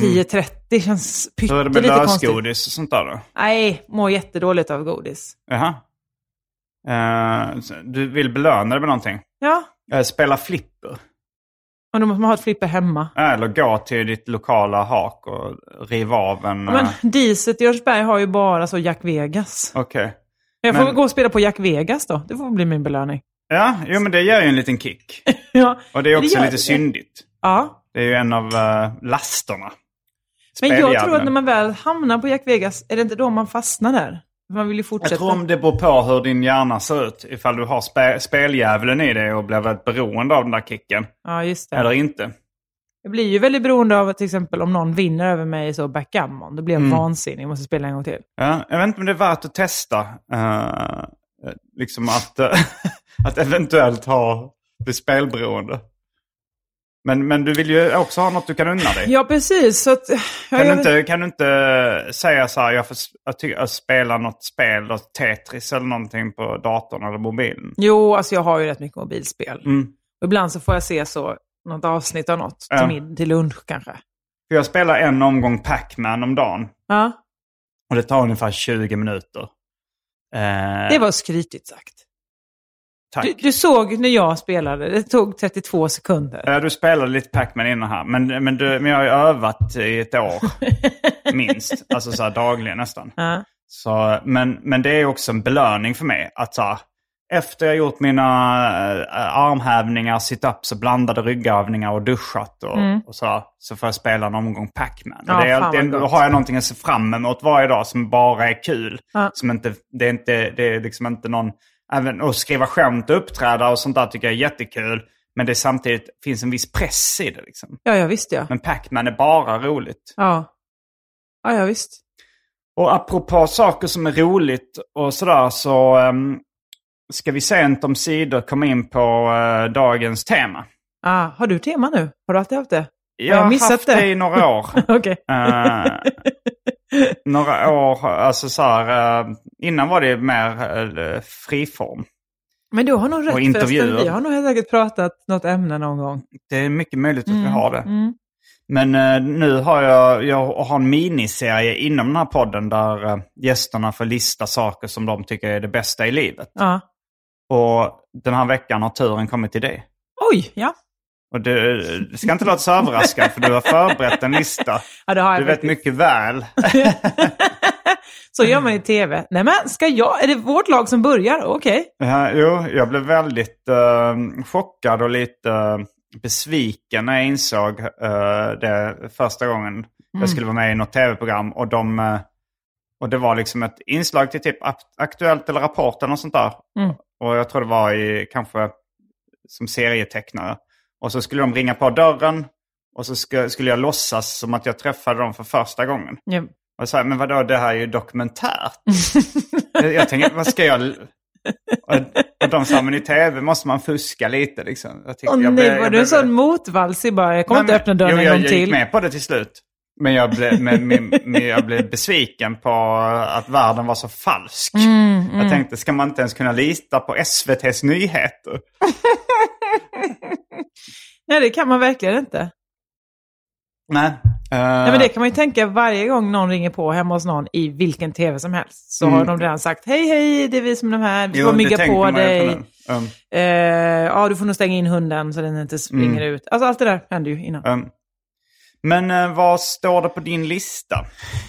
Speaker 2: 10.30 känns
Speaker 1: Så Mm. är det
Speaker 2: pyttelite
Speaker 1: med
Speaker 2: konstigt.
Speaker 1: lösgodis och sånt där då?
Speaker 2: Nej, mår jättedåligt av godis.
Speaker 1: Jaha. Eh, så du vill belöna det med någonting?
Speaker 2: Ja,
Speaker 1: Eh, spela flipper?
Speaker 2: och då måste man ha ett flipper hemma.
Speaker 1: Äh, Eller gå till ditt lokala hak och riva av en...
Speaker 2: Ja, men
Speaker 1: eh,
Speaker 2: diset i Örnsberg har ju bara så Jack Vegas.
Speaker 1: Okej.
Speaker 2: Jag får
Speaker 1: Men-
Speaker 2: gå och spela på Jack Vegas då. Det får bli min belöning.
Speaker 1: Ja, jo men det gör ju en liten kick.
Speaker 2: Ja,
Speaker 1: Och det är också
Speaker 2: gör
Speaker 1: lite
Speaker 2: det.
Speaker 1: syndigt.
Speaker 2: Ja,
Speaker 1: Det är ju en av eh, lasterna.
Speaker 2: Men jag tror
Speaker 1: Speljärnen.
Speaker 2: att när man väl hamnar på Jack Vegas, är det inte då man fastnar där? Man vill ju fortsätta.
Speaker 1: Jag tror om det beror på hur din hjärna ser ut. Ifall du har spe- speldjävulen i dig och blir väldigt beroende av den där kicken.
Speaker 2: Ja, just det.
Speaker 1: Eller inte.
Speaker 2: Jag blir ju väldigt beroende av till exempel om någon vinner över mig i så backgammon. Då blir jag
Speaker 1: Mm.
Speaker 2: vansinnig, jag måste spela en gång till.
Speaker 1: Ja, jag vet inte om det är värt att testa. eh, liksom att, eh, att eventuellt ha, bli spelberoende. Men, men du vill ju också ha något du kan unna dig.
Speaker 2: Ja, precis. Så att, ja,
Speaker 1: Kan du,
Speaker 2: jag-
Speaker 1: inte, kan du inte säga så här, jag, får, jag, tycker, jag spelar något spel, något Tetris eller någonting på datorn eller mobilen?
Speaker 2: Jo, alltså jag har ju rätt mycket mobilspel.
Speaker 1: Mm.
Speaker 2: Och ibland så får jag se så något avsnitt av något,
Speaker 1: Ja.
Speaker 2: till, min, till lunch kanske.
Speaker 1: För jag spelar en omgång Pac-Man om dagen
Speaker 2: Ja,
Speaker 1: och det tar ungefär 20 minuter. Eh,
Speaker 2: det var skrytigt sagt.
Speaker 1: tack.
Speaker 2: Du, du såg när jag spelade, det tog 32 sekunder.
Speaker 1: Ja, du spelade lite Pac-Man innan här, men, men, du, men jag har ju övat i ett år minst. Alltså så här dagligen nästan.
Speaker 2: Ja.
Speaker 1: Så, men, men det är också en belöning för mig att så här, efter jag gjort mina eh, armhävningar, sit-ups och blandade ryggövningar och duschat och, och så, här, så får jag spela en omgång Pac-Man.
Speaker 2: Mm. Ja,
Speaker 1: Och det är,
Speaker 2: fan vad
Speaker 1: alltid- då
Speaker 2: gott.
Speaker 1: har jag någonting att se fram emot varje dag som bara är kul.
Speaker 2: Ja.
Speaker 1: Som inte, det, är inte, det är liksom inte någon... Även att skriva skämt och uppträda och sånt där tycker jag är jättekul. Men det är samtidigt finns en viss press i det. Liksom.
Speaker 2: ja, ja, visst ja.
Speaker 1: Men Pac-Man är bara roligt.
Speaker 2: Ja, ja, ja visst.
Speaker 1: Och apropå saker som är roligt och sådär så ehm, ska vi sent om sidor komma in på eh, dagens tema.
Speaker 2: Ah, har du tema nu? Har du alltid haft det?
Speaker 1: Jag
Speaker 2: jag
Speaker 1: har
Speaker 2: missat
Speaker 1: haft
Speaker 2: det?
Speaker 1: det i några år.
Speaker 2: Okej.
Speaker 1: Eh, några år, alltså så här, eh, innan var det mer eh, friform.
Speaker 2: Men du har nog rätt
Speaker 1: Och intervjuer.
Speaker 2: förresten. Vi har nog helt säkert pratat något ämne någon gång.
Speaker 1: Det är mycket möjligt att vi har det.
Speaker 2: Mm.
Speaker 1: Men eh, nu har jag, jag har en miniserie inom den här podden där eh, gästerna får lista saker som de tycker är det bästa i livet.
Speaker 2: Ja.
Speaker 1: Och den här veckan har turen kommit till dig.
Speaker 2: Oj, ja.
Speaker 1: Och du, du ska inte låta så överraskad för du har förberett en lista.
Speaker 2: ja det har jag
Speaker 1: Du vet
Speaker 2: faktiskt.
Speaker 1: mycket väl.
Speaker 2: Så gör
Speaker 1: Mm.
Speaker 2: man i tv. Nej men, ska jag? Är det vårt lag som börjar? Okej.
Speaker 1: Ja, jo, jag blev väldigt eh, chockad och lite eh, besviken när jag insåg eh, det första gången
Speaker 2: Mm.
Speaker 1: jag skulle vara med i något tv-program. Och, de, eh, och det var liksom ett inslag till typ Akt- Aktuellt eller Rapport eller något sånt där.
Speaker 2: Mm.
Speaker 1: Och jag tror det var i, kanske som serietecknare. Och så skulle de ringa på dörren och så ska, skulle jag låtsas som att jag träffade dem för första gången.
Speaker 2: Ja.
Speaker 1: Och så här, men vadå, det här är ju dokumentärt. jag jag tänker, vad ska jag... Och, och de sa, men i tv måste man fuska lite liksom. Jag tyckte,
Speaker 2: Åh
Speaker 1: jag
Speaker 2: nej,
Speaker 1: blev-
Speaker 2: var
Speaker 1: jag
Speaker 2: du
Speaker 1: blev-
Speaker 2: en sån motvalsig bara? Jag kommer
Speaker 1: Nej,
Speaker 2: inte öppna
Speaker 1: men- jo,
Speaker 2: dörren
Speaker 1: jag,
Speaker 2: en gång
Speaker 1: jag gick
Speaker 2: till.
Speaker 1: med på det till slut. Men jag blev, men, men, men jag blev besviken på att världen var så falsk.
Speaker 2: Mm,
Speaker 1: Jag tänkte, ska man inte ens kunna lita på SVTs nyheter?
Speaker 2: Nej, det kan man verkligen inte.
Speaker 1: Nej. eh,
Speaker 2: Nej, men det kan man ju tänka varje gång någon ringer på hemma hos någon i vilken tv som helst. Så
Speaker 1: Mm.
Speaker 2: har de redan sagt hej, hej, det är vi som är de här, vi får mygga på dig.
Speaker 1: Um,
Speaker 2: Eh, ja, du får nog stänga in hunden så den inte springer
Speaker 1: Mm.
Speaker 2: ut. Alltså allt det där händer ju innan.
Speaker 1: um. Men eh, vad står det på din lista?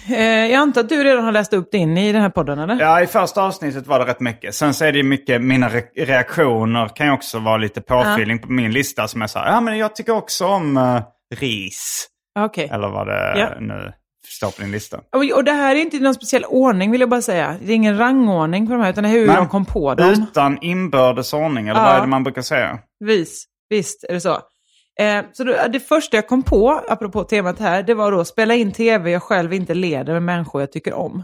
Speaker 2: Eh, jag antar att du redan har läst upp din i den här podden, eller?
Speaker 1: Ja, i första avsnittet var det rätt mycket. Sen så är det ju mycket, mina re- reaktioner kan ju också vara lite påfyllning på min lista som är så här, ja men jag tycker också om eh, ris.
Speaker 2: Okej.
Speaker 1: Eller vad det
Speaker 2: Ja.
Speaker 1: nu står på din lista.
Speaker 2: Och, och det här är inte i någon speciell ordning vill jag bara säga. Det är ingen rangordning på de här, utan det är hur
Speaker 1: Nej.
Speaker 2: de kom på dem.
Speaker 1: Utan inbördes ordning, eller
Speaker 2: Ja.
Speaker 1: vad är det man brukar säga?
Speaker 2: Vis, visst är det så. Eh, så då, det första jag kom på, apropå temat här, det var då spela in tv jag själv inte leder med människor jag tycker
Speaker 1: Mm.
Speaker 2: om.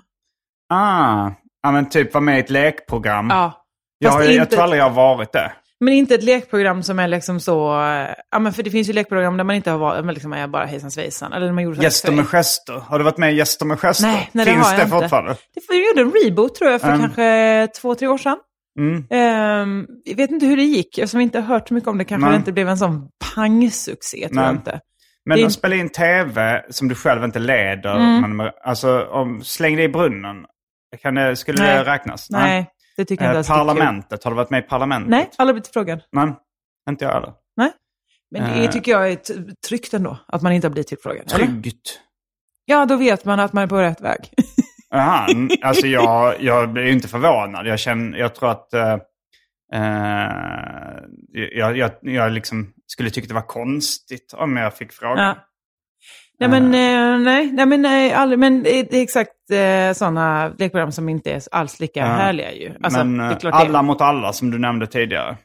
Speaker 1: Ah, ja men typ vara med i ett lekprogram.
Speaker 2: Ja.
Speaker 1: jag,
Speaker 2: Fast
Speaker 1: har ju- jag
Speaker 2: inte-
Speaker 1: tror aldrig jag har varit det.
Speaker 2: Men inte ett lekprogram som är liksom så... eh, Ja, men för det finns ju lekprogram där man inte har varit, men liksom är bara hejsan svejsan. Eller där man gjorde
Speaker 1: Gäster med gester. Har du varit med i Gäster med gester?
Speaker 2: Nej, nej, det
Speaker 1: Finns
Speaker 2: har jag
Speaker 1: det
Speaker 2: inte.
Speaker 1: fortfarande?
Speaker 2: Det för, jag gjorde en reboot tror jag för
Speaker 1: Mm.
Speaker 2: kanske två, tre år sedan.
Speaker 1: Mm.
Speaker 2: Ehm, jag vet inte hur det gick, eftersom vi inte har hört så mycket om det kanske
Speaker 1: Nej.
Speaker 2: det inte blev en sån pangsuccé. Tror jag
Speaker 1: Nej.
Speaker 2: inte.
Speaker 1: Men
Speaker 2: Det är- Mm.
Speaker 1: att spela in tv som du själv inte leder, men, alltså om, släng dig i brunnen. Kan det, skulle
Speaker 2: Nej.
Speaker 1: det räknas?
Speaker 2: Nej, det tycker jag inte
Speaker 1: Eh,
Speaker 2: alls är kul.
Speaker 1: parlamentet, har du varit med i Parlamentet?
Speaker 2: Nej, aldrig blivit frågan.
Speaker 1: Nej, inte jag heller.
Speaker 2: Nej. Men det
Speaker 1: Eh.
Speaker 2: tycker jag är t- tryggt ändå, att man inte har blivit tillfrågad. Eller?
Speaker 1: Tryggt.
Speaker 2: Ja, då vet man att man är på rätt väg.
Speaker 1: Jaha, n- alltså jag, jag blir ju inte förvånad. Jag, känner, jag tror att eh, eh, jag, jag, jag liksom skulle tycka det var konstigt om jag fick frågan.
Speaker 2: ja. Nej men, eh, nej, nej, men, nej, aldrig, men det det är exakt eh, sådana lekprogram som inte är alls lika härliga ju. Alltså,
Speaker 1: men
Speaker 2: det
Speaker 1: eh,
Speaker 2: är klart
Speaker 1: alla
Speaker 2: det.
Speaker 1: mot alla som du nämnde tidigare.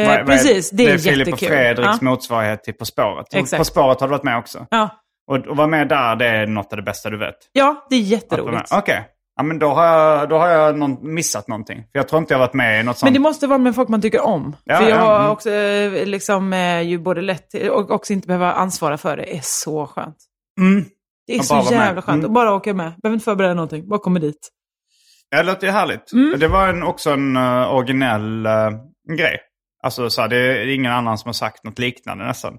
Speaker 2: Eh,
Speaker 1: Vad- vad
Speaker 2: precis, det, är,
Speaker 1: Det är Filip och
Speaker 2: jättekul.
Speaker 1: Fredriks
Speaker 2: ja.
Speaker 1: motsvarighet till På spåret. Och
Speaker 2: Exakt.
Speaker 1: På spåret har du varit med också.
Speaker 2: Ja.
Speaker 1: Och att vara med där, det är något av det bästa du vet.
Speaker 2: ja, det
Speaker 1: Att vara med.
Speaker 2: är jätteroligt.
Speaker 1: Okej, ja, men då har jag, då har jag någon, missat någonting. För jag tror inte jag har varit med i något sånt.
Speaker 2: Men det måste vara med folk man tycker om.
Speaker 1: Ja,
Speaker 2: för jag
Speaker 1: ja,
Speaker 2: har
Speaker 1: mm.
Speaker 2: också eh, liksom, eh, ju både lätt och också inte behöva ansvara för det är så skönt.
Speaker 1: Mm.
Speaker 2: Det är
Speaker 1: Och
Speaker 2: så
Speaker 1: bara vara med.
Speaker 2: jävla skönt.
Speaker 1: Mm.
Speaker 2: Och bara åka med. Behöver inte förbereda någonting. Bara kommer dit.
Speaker 1: Ja, Det låter ju härligt.
Speaker 2: Mm.
Speaker 1: Det var en, också en eh, originell eh, grej. Alltså så här, det är ingen annan som har sagt något liknande nästan.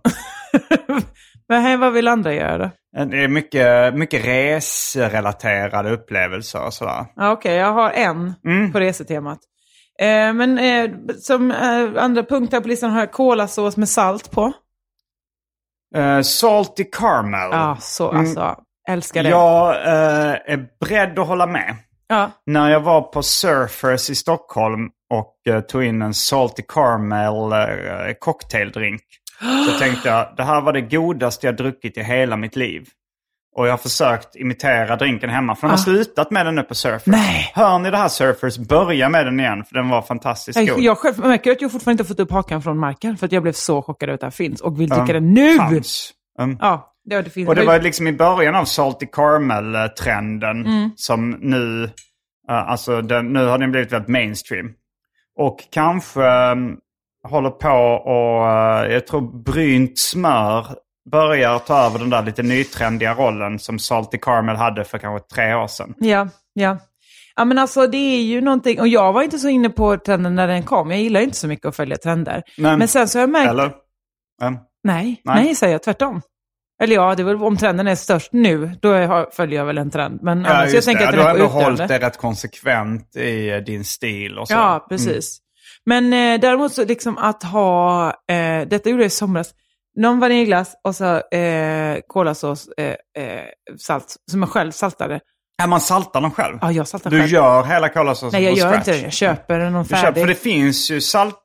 Speaker 2: Men här, vad vill andra göra då?
Speaker 1: det är mycket, mycket resrelaterade upplevelser och sådär. Mm.
Speaker 2: Ja, Okej, jag har en på resetemat. Eh, men eh, som eh, andra punkt här på listan har jag kolasås med salt på.
Speaker 1: Eh, salty Caramel.
Speaker 2: Ja, så
Speaker 1: Mm.
Speaker 2: alltså. Älskar det.
Speaker 1: Jag eh, är beredd att hålla med.
Speaker 2: Ja.
Speaker 1: När jag var på Surfers i Stockholm och eh, tog in en Salty Caramel eh, cocktaildrink. Så tänkte jag, det här var det godaste jag druckit i hela mitt liv. Och jag har försökt imitera drinken hemma, för de har slutat med den nu på Surfers.
Speaker 2: Ah. Nej.
Speaker 1: Hör ni det här Surfers, börja med den igen, för den var fantastiskt
Speaker 2: Jag,
Speaker 1: god.
Speaker 2: jag själv märker att jag fortfarande inte har fått upp hakan från marken för att jag blev så chockad över att det här finns och vill dricka
Speaker 1: Ja.
Speaker 2: det nu.
Speaker 1: Fanns. Mm.
Speaker 2: Ja, det, det finns.
Speaker 1: Och det var liksom i början av Salty Caramel-trenden
Speaker 2: Mm.
Speaker 1: som nu, eh, alltså den, nu har den blivit väldigt mainstream. Och kanske eh, håller på och, eh, jag tror brynt smör börjar ta över den där lite nytrendiga rollen som Salty Caramel hade för kanske tre år sedan.
Speaker 2: Ja, ja. Ja men alltså det är ju någonting, och jag var inte så inne på trenden när den kom. Jag gillar inte så mycket att följa trender.
Speaker 1: Nej.
Speaker 2: Men sen så har jag märkt,
Speaker 1: Eller? Mm.
Speaker 2: nej, nej,
Speaker 1: Nej.
Speaker 2: säger jag tvärtom. Eller ja, det är väl, om trenden är störst nu, då är- har- följer jag väl en trend. Men
Speaker 1: Ja,
Speaker 2: annars, jag
Speaker 1: just det.
Speaker 2: tänker
Speaker 1: Ja,
Speaker 2: att
Speaker 1: du har
Speaker 2: den
Speaker 1: ändå
Speaker 2: är på
Speaker 1: hållit
Speaker 2: utdöende.
Speaker 1: det rätt konsekvent i eh, din stil och så. Mm.
Speaker 2: Ja, precis. Men eh, däremot så liksom att ha, eh, detta gjorde jag i somras, någon vaniljglass och så eh, kolasås, eh, eh, salt, som jag själv saltade.
Speaker 1: Ja, man saltar dem själv.
Speaker 2: Ja, jag saltar
Speaker 1: du
Speaker 2: själv.
Speaker 1: gör hela kolasåsen
Speaker 2: Nej, jag
Speaker 1: från
Speaker 2: gör
Speaker 1: scratch.
Speaker 2: inte det. Jag köper den någon
Speaker 1: Du
Speaker 2: färdig.
Speaker 1: köper, för det finns ju salt,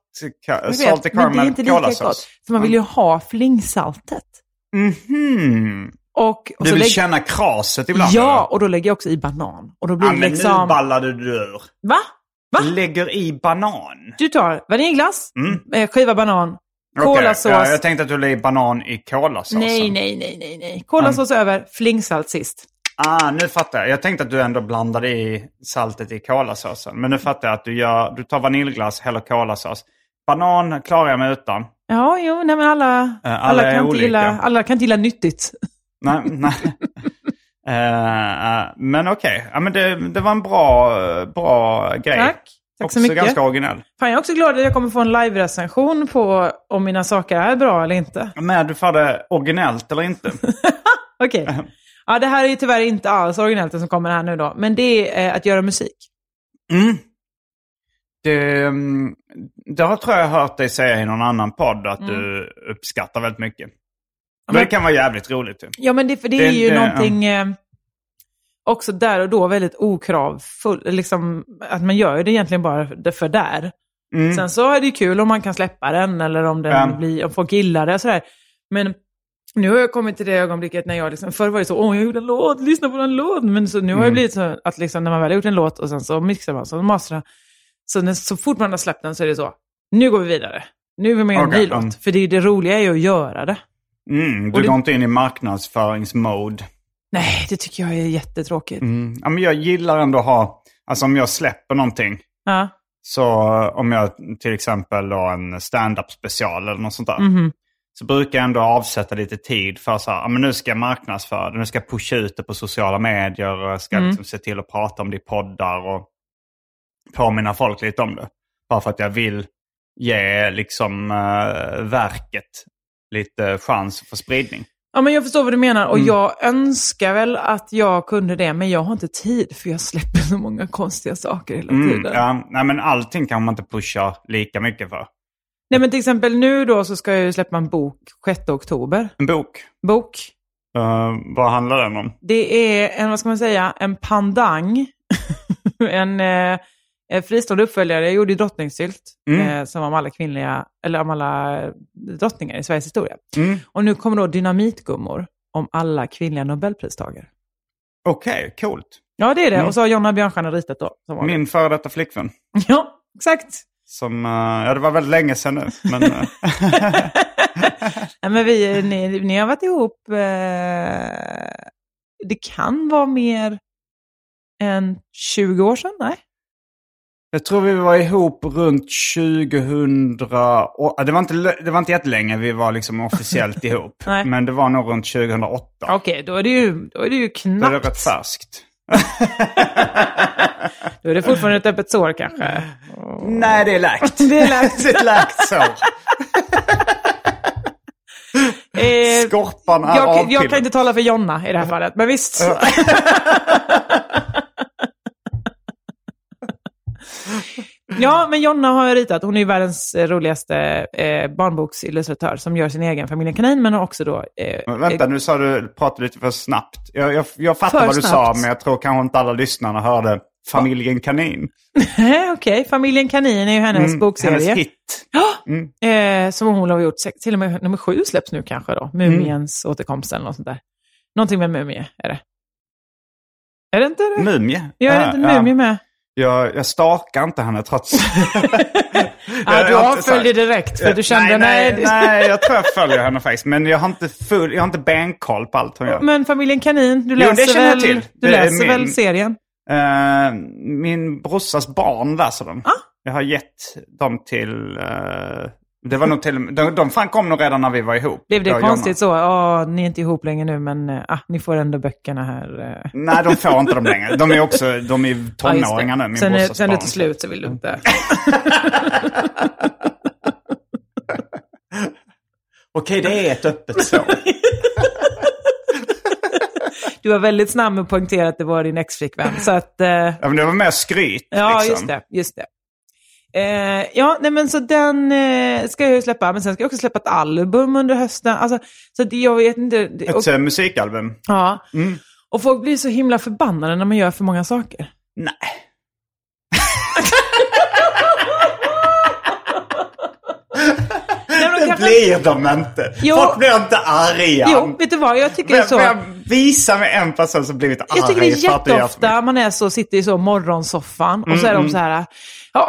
Speaker 1: ka,
Speaker 2: Jag
Speaker 1: salt i
Speaker 2: vet, men det är
Speaker 1: caramel
Speaker 2: inte lika gott.
Speaker 1: kolasås. Mm.
Speaker 2: För man vill ju ha flingsaltet.
Speaker 1: Mhm.
Speaker 2: Och, och
Speaker 1: Du
Speaker 2: så
Speaker 1: vill
Speaker 2: lägg-
Speaker 1: känna kraset ibland?
Speaker 2: Ja,
Speaker 1: eller?
Speaker 2: och då lägger jag också i banan. Och då blir
Speaker 1: Ja,
Speaker 2: det
Speaker 1: men
Speaker 2: liksom...
Speaker 1: nu ballade du ur.
Speaker 2: Va? Va?
Speaker 1: Lägger i banan.
Speaker 2: Du tar vaniljglass,
Speaker 1: Mm.
Speaker 2: eh, skiva banan,
Speaker 1: Okej,
Speaker 2: kolasås.
Speaker 1: ja, jag tänkte att du la i banan i kolasåsen.
Speaker 2: nej, nej, nej, nej, nej. Kolasås över, flingsalt sist.
Speaker 1: Ah, nu fattar jag. Jag tänkte att du ändå blandade i saltet i kolasåsen. Men nu fattar jag att du, gör, du tar vaniljglass, häller kolasås. Banan klarar jag mig utan.
Speaker 2: Ja, jo, nej men alla,
Speaker 1: Äh, alla
Speaker 2: alla,
Speaker 1: är
Speaker 2: kan inte
Speaker 1: olika.
Speaker 2: gilla, alla kan inte gilla nyttigt.
Speaker 1: Nej, nej. Eh, eh, men okej, ja, men det, det var en bra, bra grej.
Speaker 2: Tack. Tack så
Speaker 1: Också
Speaker 2: mycket.
Speaker 1: ganska originell.
Speaker 2: Fan, jag är också glad att jag kommer få en live-recension på om mina saker är bra eller inte.
Speaker 1: Men du får det originellt eller inte.
Speaker 2: Okej. Ja, det här är ju tyvärr inte alls originellt det som kommer här nu då. Men det är eh, att göra musik.
Speaker 1: Mm. Det, mm, det har tror jag hört dig säga i någon annan podd att du
Speaker 2: Mm.
Speaker 1: uppskattar väldigt mycket. Men det kan vara jävligt roligt. typ. ju.
Speaker 2: Ja, men det, för det,
Speaker 1: Det-
Speaker 2: är ju
Speaker 1: det-
Speaker 2: någonting eh, också där och då väldigt okravfull, liksom att man gör ju det egentligen bara det- för där.
Speaker 1: Mm.
Speaker 2: Sen så är det ju kul om man kan släppa den eller om, den
Speaker 1: Ja.
Speaker 2: blir, om folk gillar det och sådär. Men nu har jag kommit till det ögonblicket när jag liksom, förr var det så, åh jag gjorde en låt, lyssna på den låt. Men så, nu har
Speaker 1: Mm.
Speaker 2: det blivit så att liksom, när man väl har gjort en låt och sen så mixar man, så masterar så, när, så fort man har släppt den så är det så, nu går vi vidare. Nu vill man göra
Speaker 1: Okej,
Speaker 2: en ny
Speaker 1: mm.
Speaker 2: låt. För det, är ju det roliga är ju att göra det.
Speaker 1: Mm, du
Speaker 2: Och det-
Speaker 1: går inte in i marknadsföringsmode.
Speaker 2: Nej, det tycker jag är jättetråkigt.
Speaker 1: Mm. Ja, men jag gillar ändå att ha, alltså om jag släpper någonting,
Speaker 2: Ja.
Speaker 1: så om jag till exempel har en stand-up special eller något sånt där,
Speaker 2: mhm.
Speaker 1: så brukar jag ändå avsätta lite tid för så här, "Ja, men nu ska jag marknadsföra det, nu ska jag pusha ut det på sociala medier, och jag ska liksom se till att prata om det i poddar och påminna folk lite om det. Bara för att jag vill ge liksom eh, verket lite chans för spridning.
Speaker 2: Ja, men jag förstår vad du menar
Speaker 1: Mm.
Speaker 2: och jag önskar väl att jag kunde det, men jag har inte tid för jag släpper så många konstiga saker hela
Speaker 1: Mm,
Speaker 2: tiden.
Speaker 1: ja, nej, men allting kan man inte pusha lika mycket för.
Speaker 2: Nej, men till exempel nu då så ska jag ju släppa en bok 6 oktober.
Speaker 1: En bok,
Speaker 2: Bok.
Speaker 1: eh, vad handlar den om?
Speaker 2: Det är en, vad ska man säga, en pandang. en eh, en fristående uppföljare. Jag gjorde ju Drottningsylt, eh, som om alla kvinnliga, eller om alla drottningar i Sveriges historia.
Speaker 1: Mm.
Speaker 2: Och nu kommer då Dynamitgummor om alla kvinnliga nobelpristagare.
Speaker 1: Okej, coolt.
Speaker 2: Ja, det är det. Och så har Jonna Björnstjärna ritat då. Som vanligt.
Speaker 1: Min före detta flickvän.
Speaker 2: Ja, exakt.
Speaker 1: Som, eh, ja det var väldigt länge sedan nu. Men, eh,
Speaker 2: Nej, men vi, ni, ni har varit ihop, eh, det kan vara mer än 20 år sedan, nej?
Speaker 1: jag tror vi var ihop runt 2000... Och, ja, det, var inte, lö- det var inte jättelänge vi var liksom officiellt ihop.
Speaker 2: Nej.
Speaker 1: Men det var nog runt 2008.
Speaker 2: Okej, då är det ju, då är det ju
Speaker 1: det är
Speaker 2: knappt.
Speaker 1: rätt färskt.
Speaker 2: Då är det fortfarande ett öppet sår
Speaker 1: Mm.
Speaker 2: kanske.
Speaker 1: Nej, det är läkt.
Speaker 2: Det är lätt.
Speaker 1: Det är ett läkt sår.
Speaker 2: Eh,
Speaker 1: Skorpan är
Speaker 2: jag, jag
Speaker 1: avpillad.
Speaker 2: kan inte tala för Jonna i det här fallet, men visst. Ja, men Jonna har jag ritat. Hon är ju världens eh, roligaste eh, barnboksillustratör som gör sin egen Familjen Kanin, men har också då... Eh,
Speaker 1: Men Vänta, nu sa du, pratade lite för snabbt. Jag, jag, jag fattar
Speaker 2: För
Speaker 1: vad du sa,
Speaker 2: snabbt.
Speaker 1: men jag tror kanske inte alla lyssnarna hörde Familjen Kanin. Mm,
Speaker 2: Nej, Eh, okej. Familjen Kanin är ju hennes bokserie.
Speaker 1: Hennes hit.
Speaker 2: Eh, som hon har gjort, sex- till och med nummer sju släpps nu kanske då. Mumiens
Speaker 1: Mm.
Speaker 2: återkomst eller något sånt där. Någonting med mumie är det. Är det inte det?
Speaker 1: Mumie.
Speaker 2: Jag är det inte en mumie med?
Speaker 1: Jag, jag stakar inte henne trots...
Speaker 2: Ja, du
Speaker 1: jag har inte
Speaker 2: avföljde
Speaker 1: sagt-
Speaker 2: direkt för att du kände, nej.
Speaker 1: nej,
Speaker 2: det-
Speaker 1: nej, nej, jag tror jag följer henne faktiskt. Men jag har inte, full, jag har inte benkoll på allt hon gör.
Speaker 2: Men familjen Kanin, du
Speaker 1: det
Speaker 2: läser,
Speaker 1: känner jag
Speaker 2: väl,
Speaker 1: till. Det
Speaker 2: Du
Speaker 1: är
Speaker 2: läser
Speaker 1: min-
Speaker 2: väl serien?
Speaker 1: Eh, min brorsas barn läser den.
Speaker 2: Ah.
Speaker 1: Jag har gett dem till... eh, det var nog till de, de fan kom nog redan när vi var ihop.
Speaker 2: Blev det
Speaker 1: jag och
Speaker 2: konstigt
Speaker 1: Jonna.
Speaker 2: så? Ja, ni är inte ihop längre nu, men eh, ah, ni får ändå böckerna här. eh.
Speaker 1: Nej, de får inte dem längre. De är också de är
Speaker 2: Ja, just det.
Speaker 1: tonåringar nu, min
Speaker 2: Sen, är-
Speaker 1: brorsas
Speaker 2: sen det
Speaker 1: barn.
Speaker 2: tar slut så vill du inte.
Speaker 1: Okej, det är ett öppet sår.
Speaker 2: Du var väldigt snabb med att poängtera att det var din ex-flickvän. Så att, eh,
Speaker 1: ja, men det var mer skryt.
Speaker 2: Ja,
Speaker 1: liksom.
Speaker 2: just det. Just det. Eh, ja, nej men så den eh, ska jag ju släppa. Men sen ska jag också släppa ett album under hösten. Alltså, så det, jag vet inte. Det,
Speaker 1: Ett Mm.
Speaker 2: och,
Speaker 1: eh, musikalbum.
Speaker 2: ja. och folk blir så himla förbannade när man gör för många saker.
Speaker 1: Nej.
Speaker 2: Nej, men de
Speaker 1: Det
Speaker 2: kanske-
Speaker 1: blir de inte.
Speaker 2: Jo.
Speaker 1: Folk blir inte arga.
Speaker 2: Jo, vet du vad? Jag tycker
Speaker 1: vem, Ah,
Speaker 2: så.
Speaker 1: vem visar med en person som blivit arg
Speaker 2: Jag tycker det är
Speaker 1: för att du gör för mycket?
Speaker 2: jätteofta man är så, sitter i så morgonsoffan och
Speaker 1: Mm,
Speaker 2: så är de så här, ja,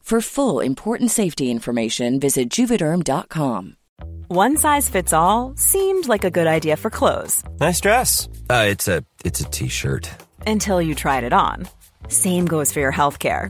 Speaker 4: For full important safety information, visit juvederm.com.
Speaker 5: One size fits all seemed like a good idea for clothes
Speaker 6: Nice dress. Uh, it's a it's a t-shirt.
Speaker 5: until you tried it on. Same goes for your healthcare.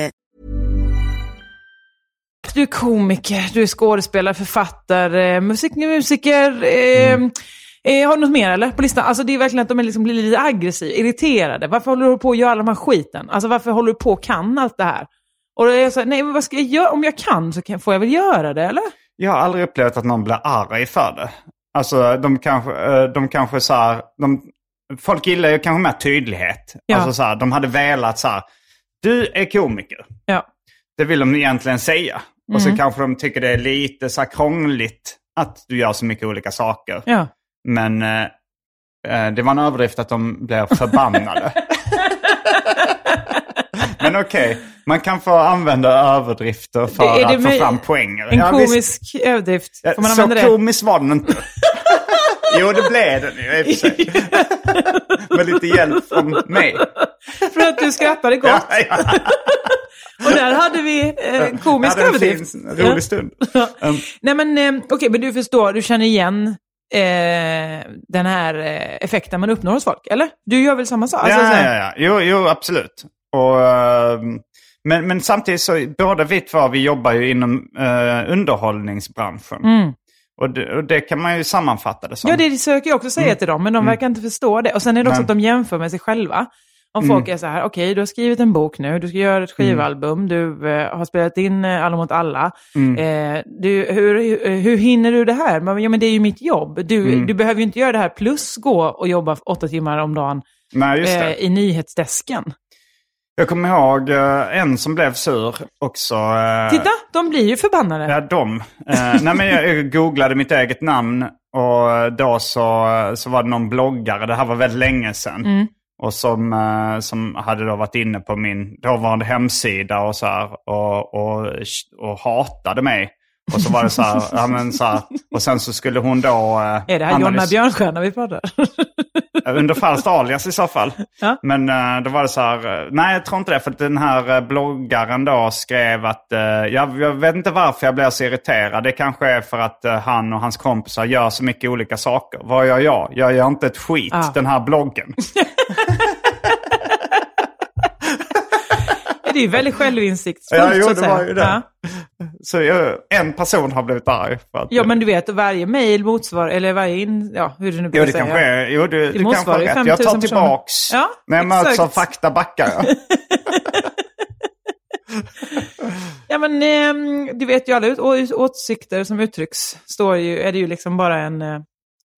Speaker 2: Du är komiker, du är skådespelare, författare, musik, musiker. Eh,
Speaker 1: Mm.
Speaker 2: eh, har du något mer eller? På listan? Alltså det är verkligen att de är liksom blir lite aggressiva, irriterade. Varför håller du på att göra all den här skiten? Alltså varför håller du på och kan allt det här? Och då är jag så här, nej men vad ska jag göra? Om jag kan så kan, får jag väl göra det eller?
Speaker 1: Jag har aldrig upplevt att någon blir arg för det. Alltså de kanske, eh, de kanske så här, de, folk gillar ju kanske mer tydlighet.
Speaker 2: Ja.
Speaker 1: Alltså så här, de hade velat så här, du är komiker.
Speaker 2: Ja.
Speaker 1: Det vill de egentligen säga. Och
Speaker 2: Mm.
Speaker 1: så kanske de tycker det är lite så här krångligt att du gör så mycket olika saker.
Speaker 2: Ja.
Speaker 1: Men eh, eh, det var en överdrift att de blev förbannade. Men okej, man kan få använda överdrifter för
Speaker 2: Är det
Speaker 1: att få
Speaker 2: möj-
Speaker 1: fram poänger.
Speaker 2: En
Speaker 1: Ja, visst.
Speaker 2: komisk överdrift.
Speaker 1: Ja,
Speaker 2: Får man
Speaker 1: så
Speaker 2: använda det?
Speaker 1: komisk var den inte. jo, det blev den ju i och för sig. Med lite hjälp från mig.
Speaker 2: För att du skrattade gott.
Speaker 1: Ja, ja.
Speaker 2: Och där hade vi eh, en komisk
Speaker 1: Jag hade en
Speaker 2: överdrift.
Speaker 1: fin,
Speaker 2: Ja.
Speaker 1: rolig stund. Um,
Speaker 2: Nej men eh, okej, men du förstår, du känner igen eh, den här eh, effekten man uppnår hos folk, eller? Du gör väl samma sak? Alltså, så
Speaker 1: ja,
Speaker 2: här-
Speaker 1: ja, ja. Jo, jo absolut. Och, ehm, men, men samtidigt så, båda vi två, vi jobbar ju inom eh, underhållningsbranschen. Och, det, och det kan man ju sammanfatta det som.
Speaker 2: Mm. Ja, det söker jag också säga till dem, men de verkar inte förstå det. Och sen är det också
Speaker 1: Mm. Nej. Mm.
Speaker 2: att de jämför med sig själva. Om folk är så här, okej, du har skrivit en bok nu, du ska göra ett skivalbum, du eh, har spelat in eh, Alla mot alla.
Speaker 1: Mm.
Speaker 2: Eh, du, hur, hur, eh, hur hinner du det här? Men, ja, men det är ju mitt jobb. Du,
Speaker 1: Mm.
Speaker 2: du behöver ju inte göra det här plus gå och jobba åtta timmar om dagen
Speaker 1: Nej, just det.
Speaker 2: eh, i nyhetsdesken.
Speaker 1: Jag kommer ihåg eh, en som blev sur också. eh,
Speaker 2: Titta, de blir ju förbannade.
Speaker 1: Ja, de. Eh, nej, men jag, jag googlade mitt eget namn och då så, så var det någon bloggare, det här var väldigt länge sedan,
Speaker 2: Mm.
Speaker 1: och som, eh, som hade då varit inne på min dåvarande hemsida och så här, och, och, och hatade mig. Och så var det så här, ja, men så här och sen så skulle hon då... eh,
Speaker 2: Är det här Jonna Björnstjärna vi pratar?
Speaker 1: Under falskt alias i så fall.
Speaker 2: Ja.
Speaker 1: Men eh, då var det så här, eh, nej jag tror inte det. För att den här eh, bloggaren då skrev att, eh, jag, jag vet inte varför jag blev så irriterad. Det kanske är för att eh, han och hans kompisar gör så mycket olika saker. Vad gör jag? Jag gör inte ett skit,
Speaker 2: Ah.
Speaker 1: den här bloggen.
Speaker 2: det är ju väldigt självinsiktsfullt.
Speaker 1: Ja, jo,
Speaker 2: så att
Speaker 1: det
Speaker 2: säga.
Speaker 1: var ju det.
Speaker 2: Ja.
Speaker 1: Så jag, en person har blivit arg. För att,
Speaker 2: ja, men du vet, varje mejl motsvarar, eller varje in, ja, hur det nu
Speaker 1: Jo,
Speaker 2: brukar
Speaker 1: det
Speaker 2: säga.
Speaker 1: kanske är, jo, du, du
Speaker 2: måste
Speaker 1: kanske har
Speaker 2: vara det,
Speaker 1: rätt. Jag
Speaker 2: 5
Speaker 1: tar
Speaker 2: 000 personer.
Speaker 1: tillbaks.
Speaker 2: Ja,
Speaker 1: När jag möts av
Speaker 2: exakt.
Speaker 1: fakta backar jag.
Speaker 2: Ja, men ehm, du vet ju alla ut, å- åsikter som uttrycks, står ju, är det ju liksom bara en, eh,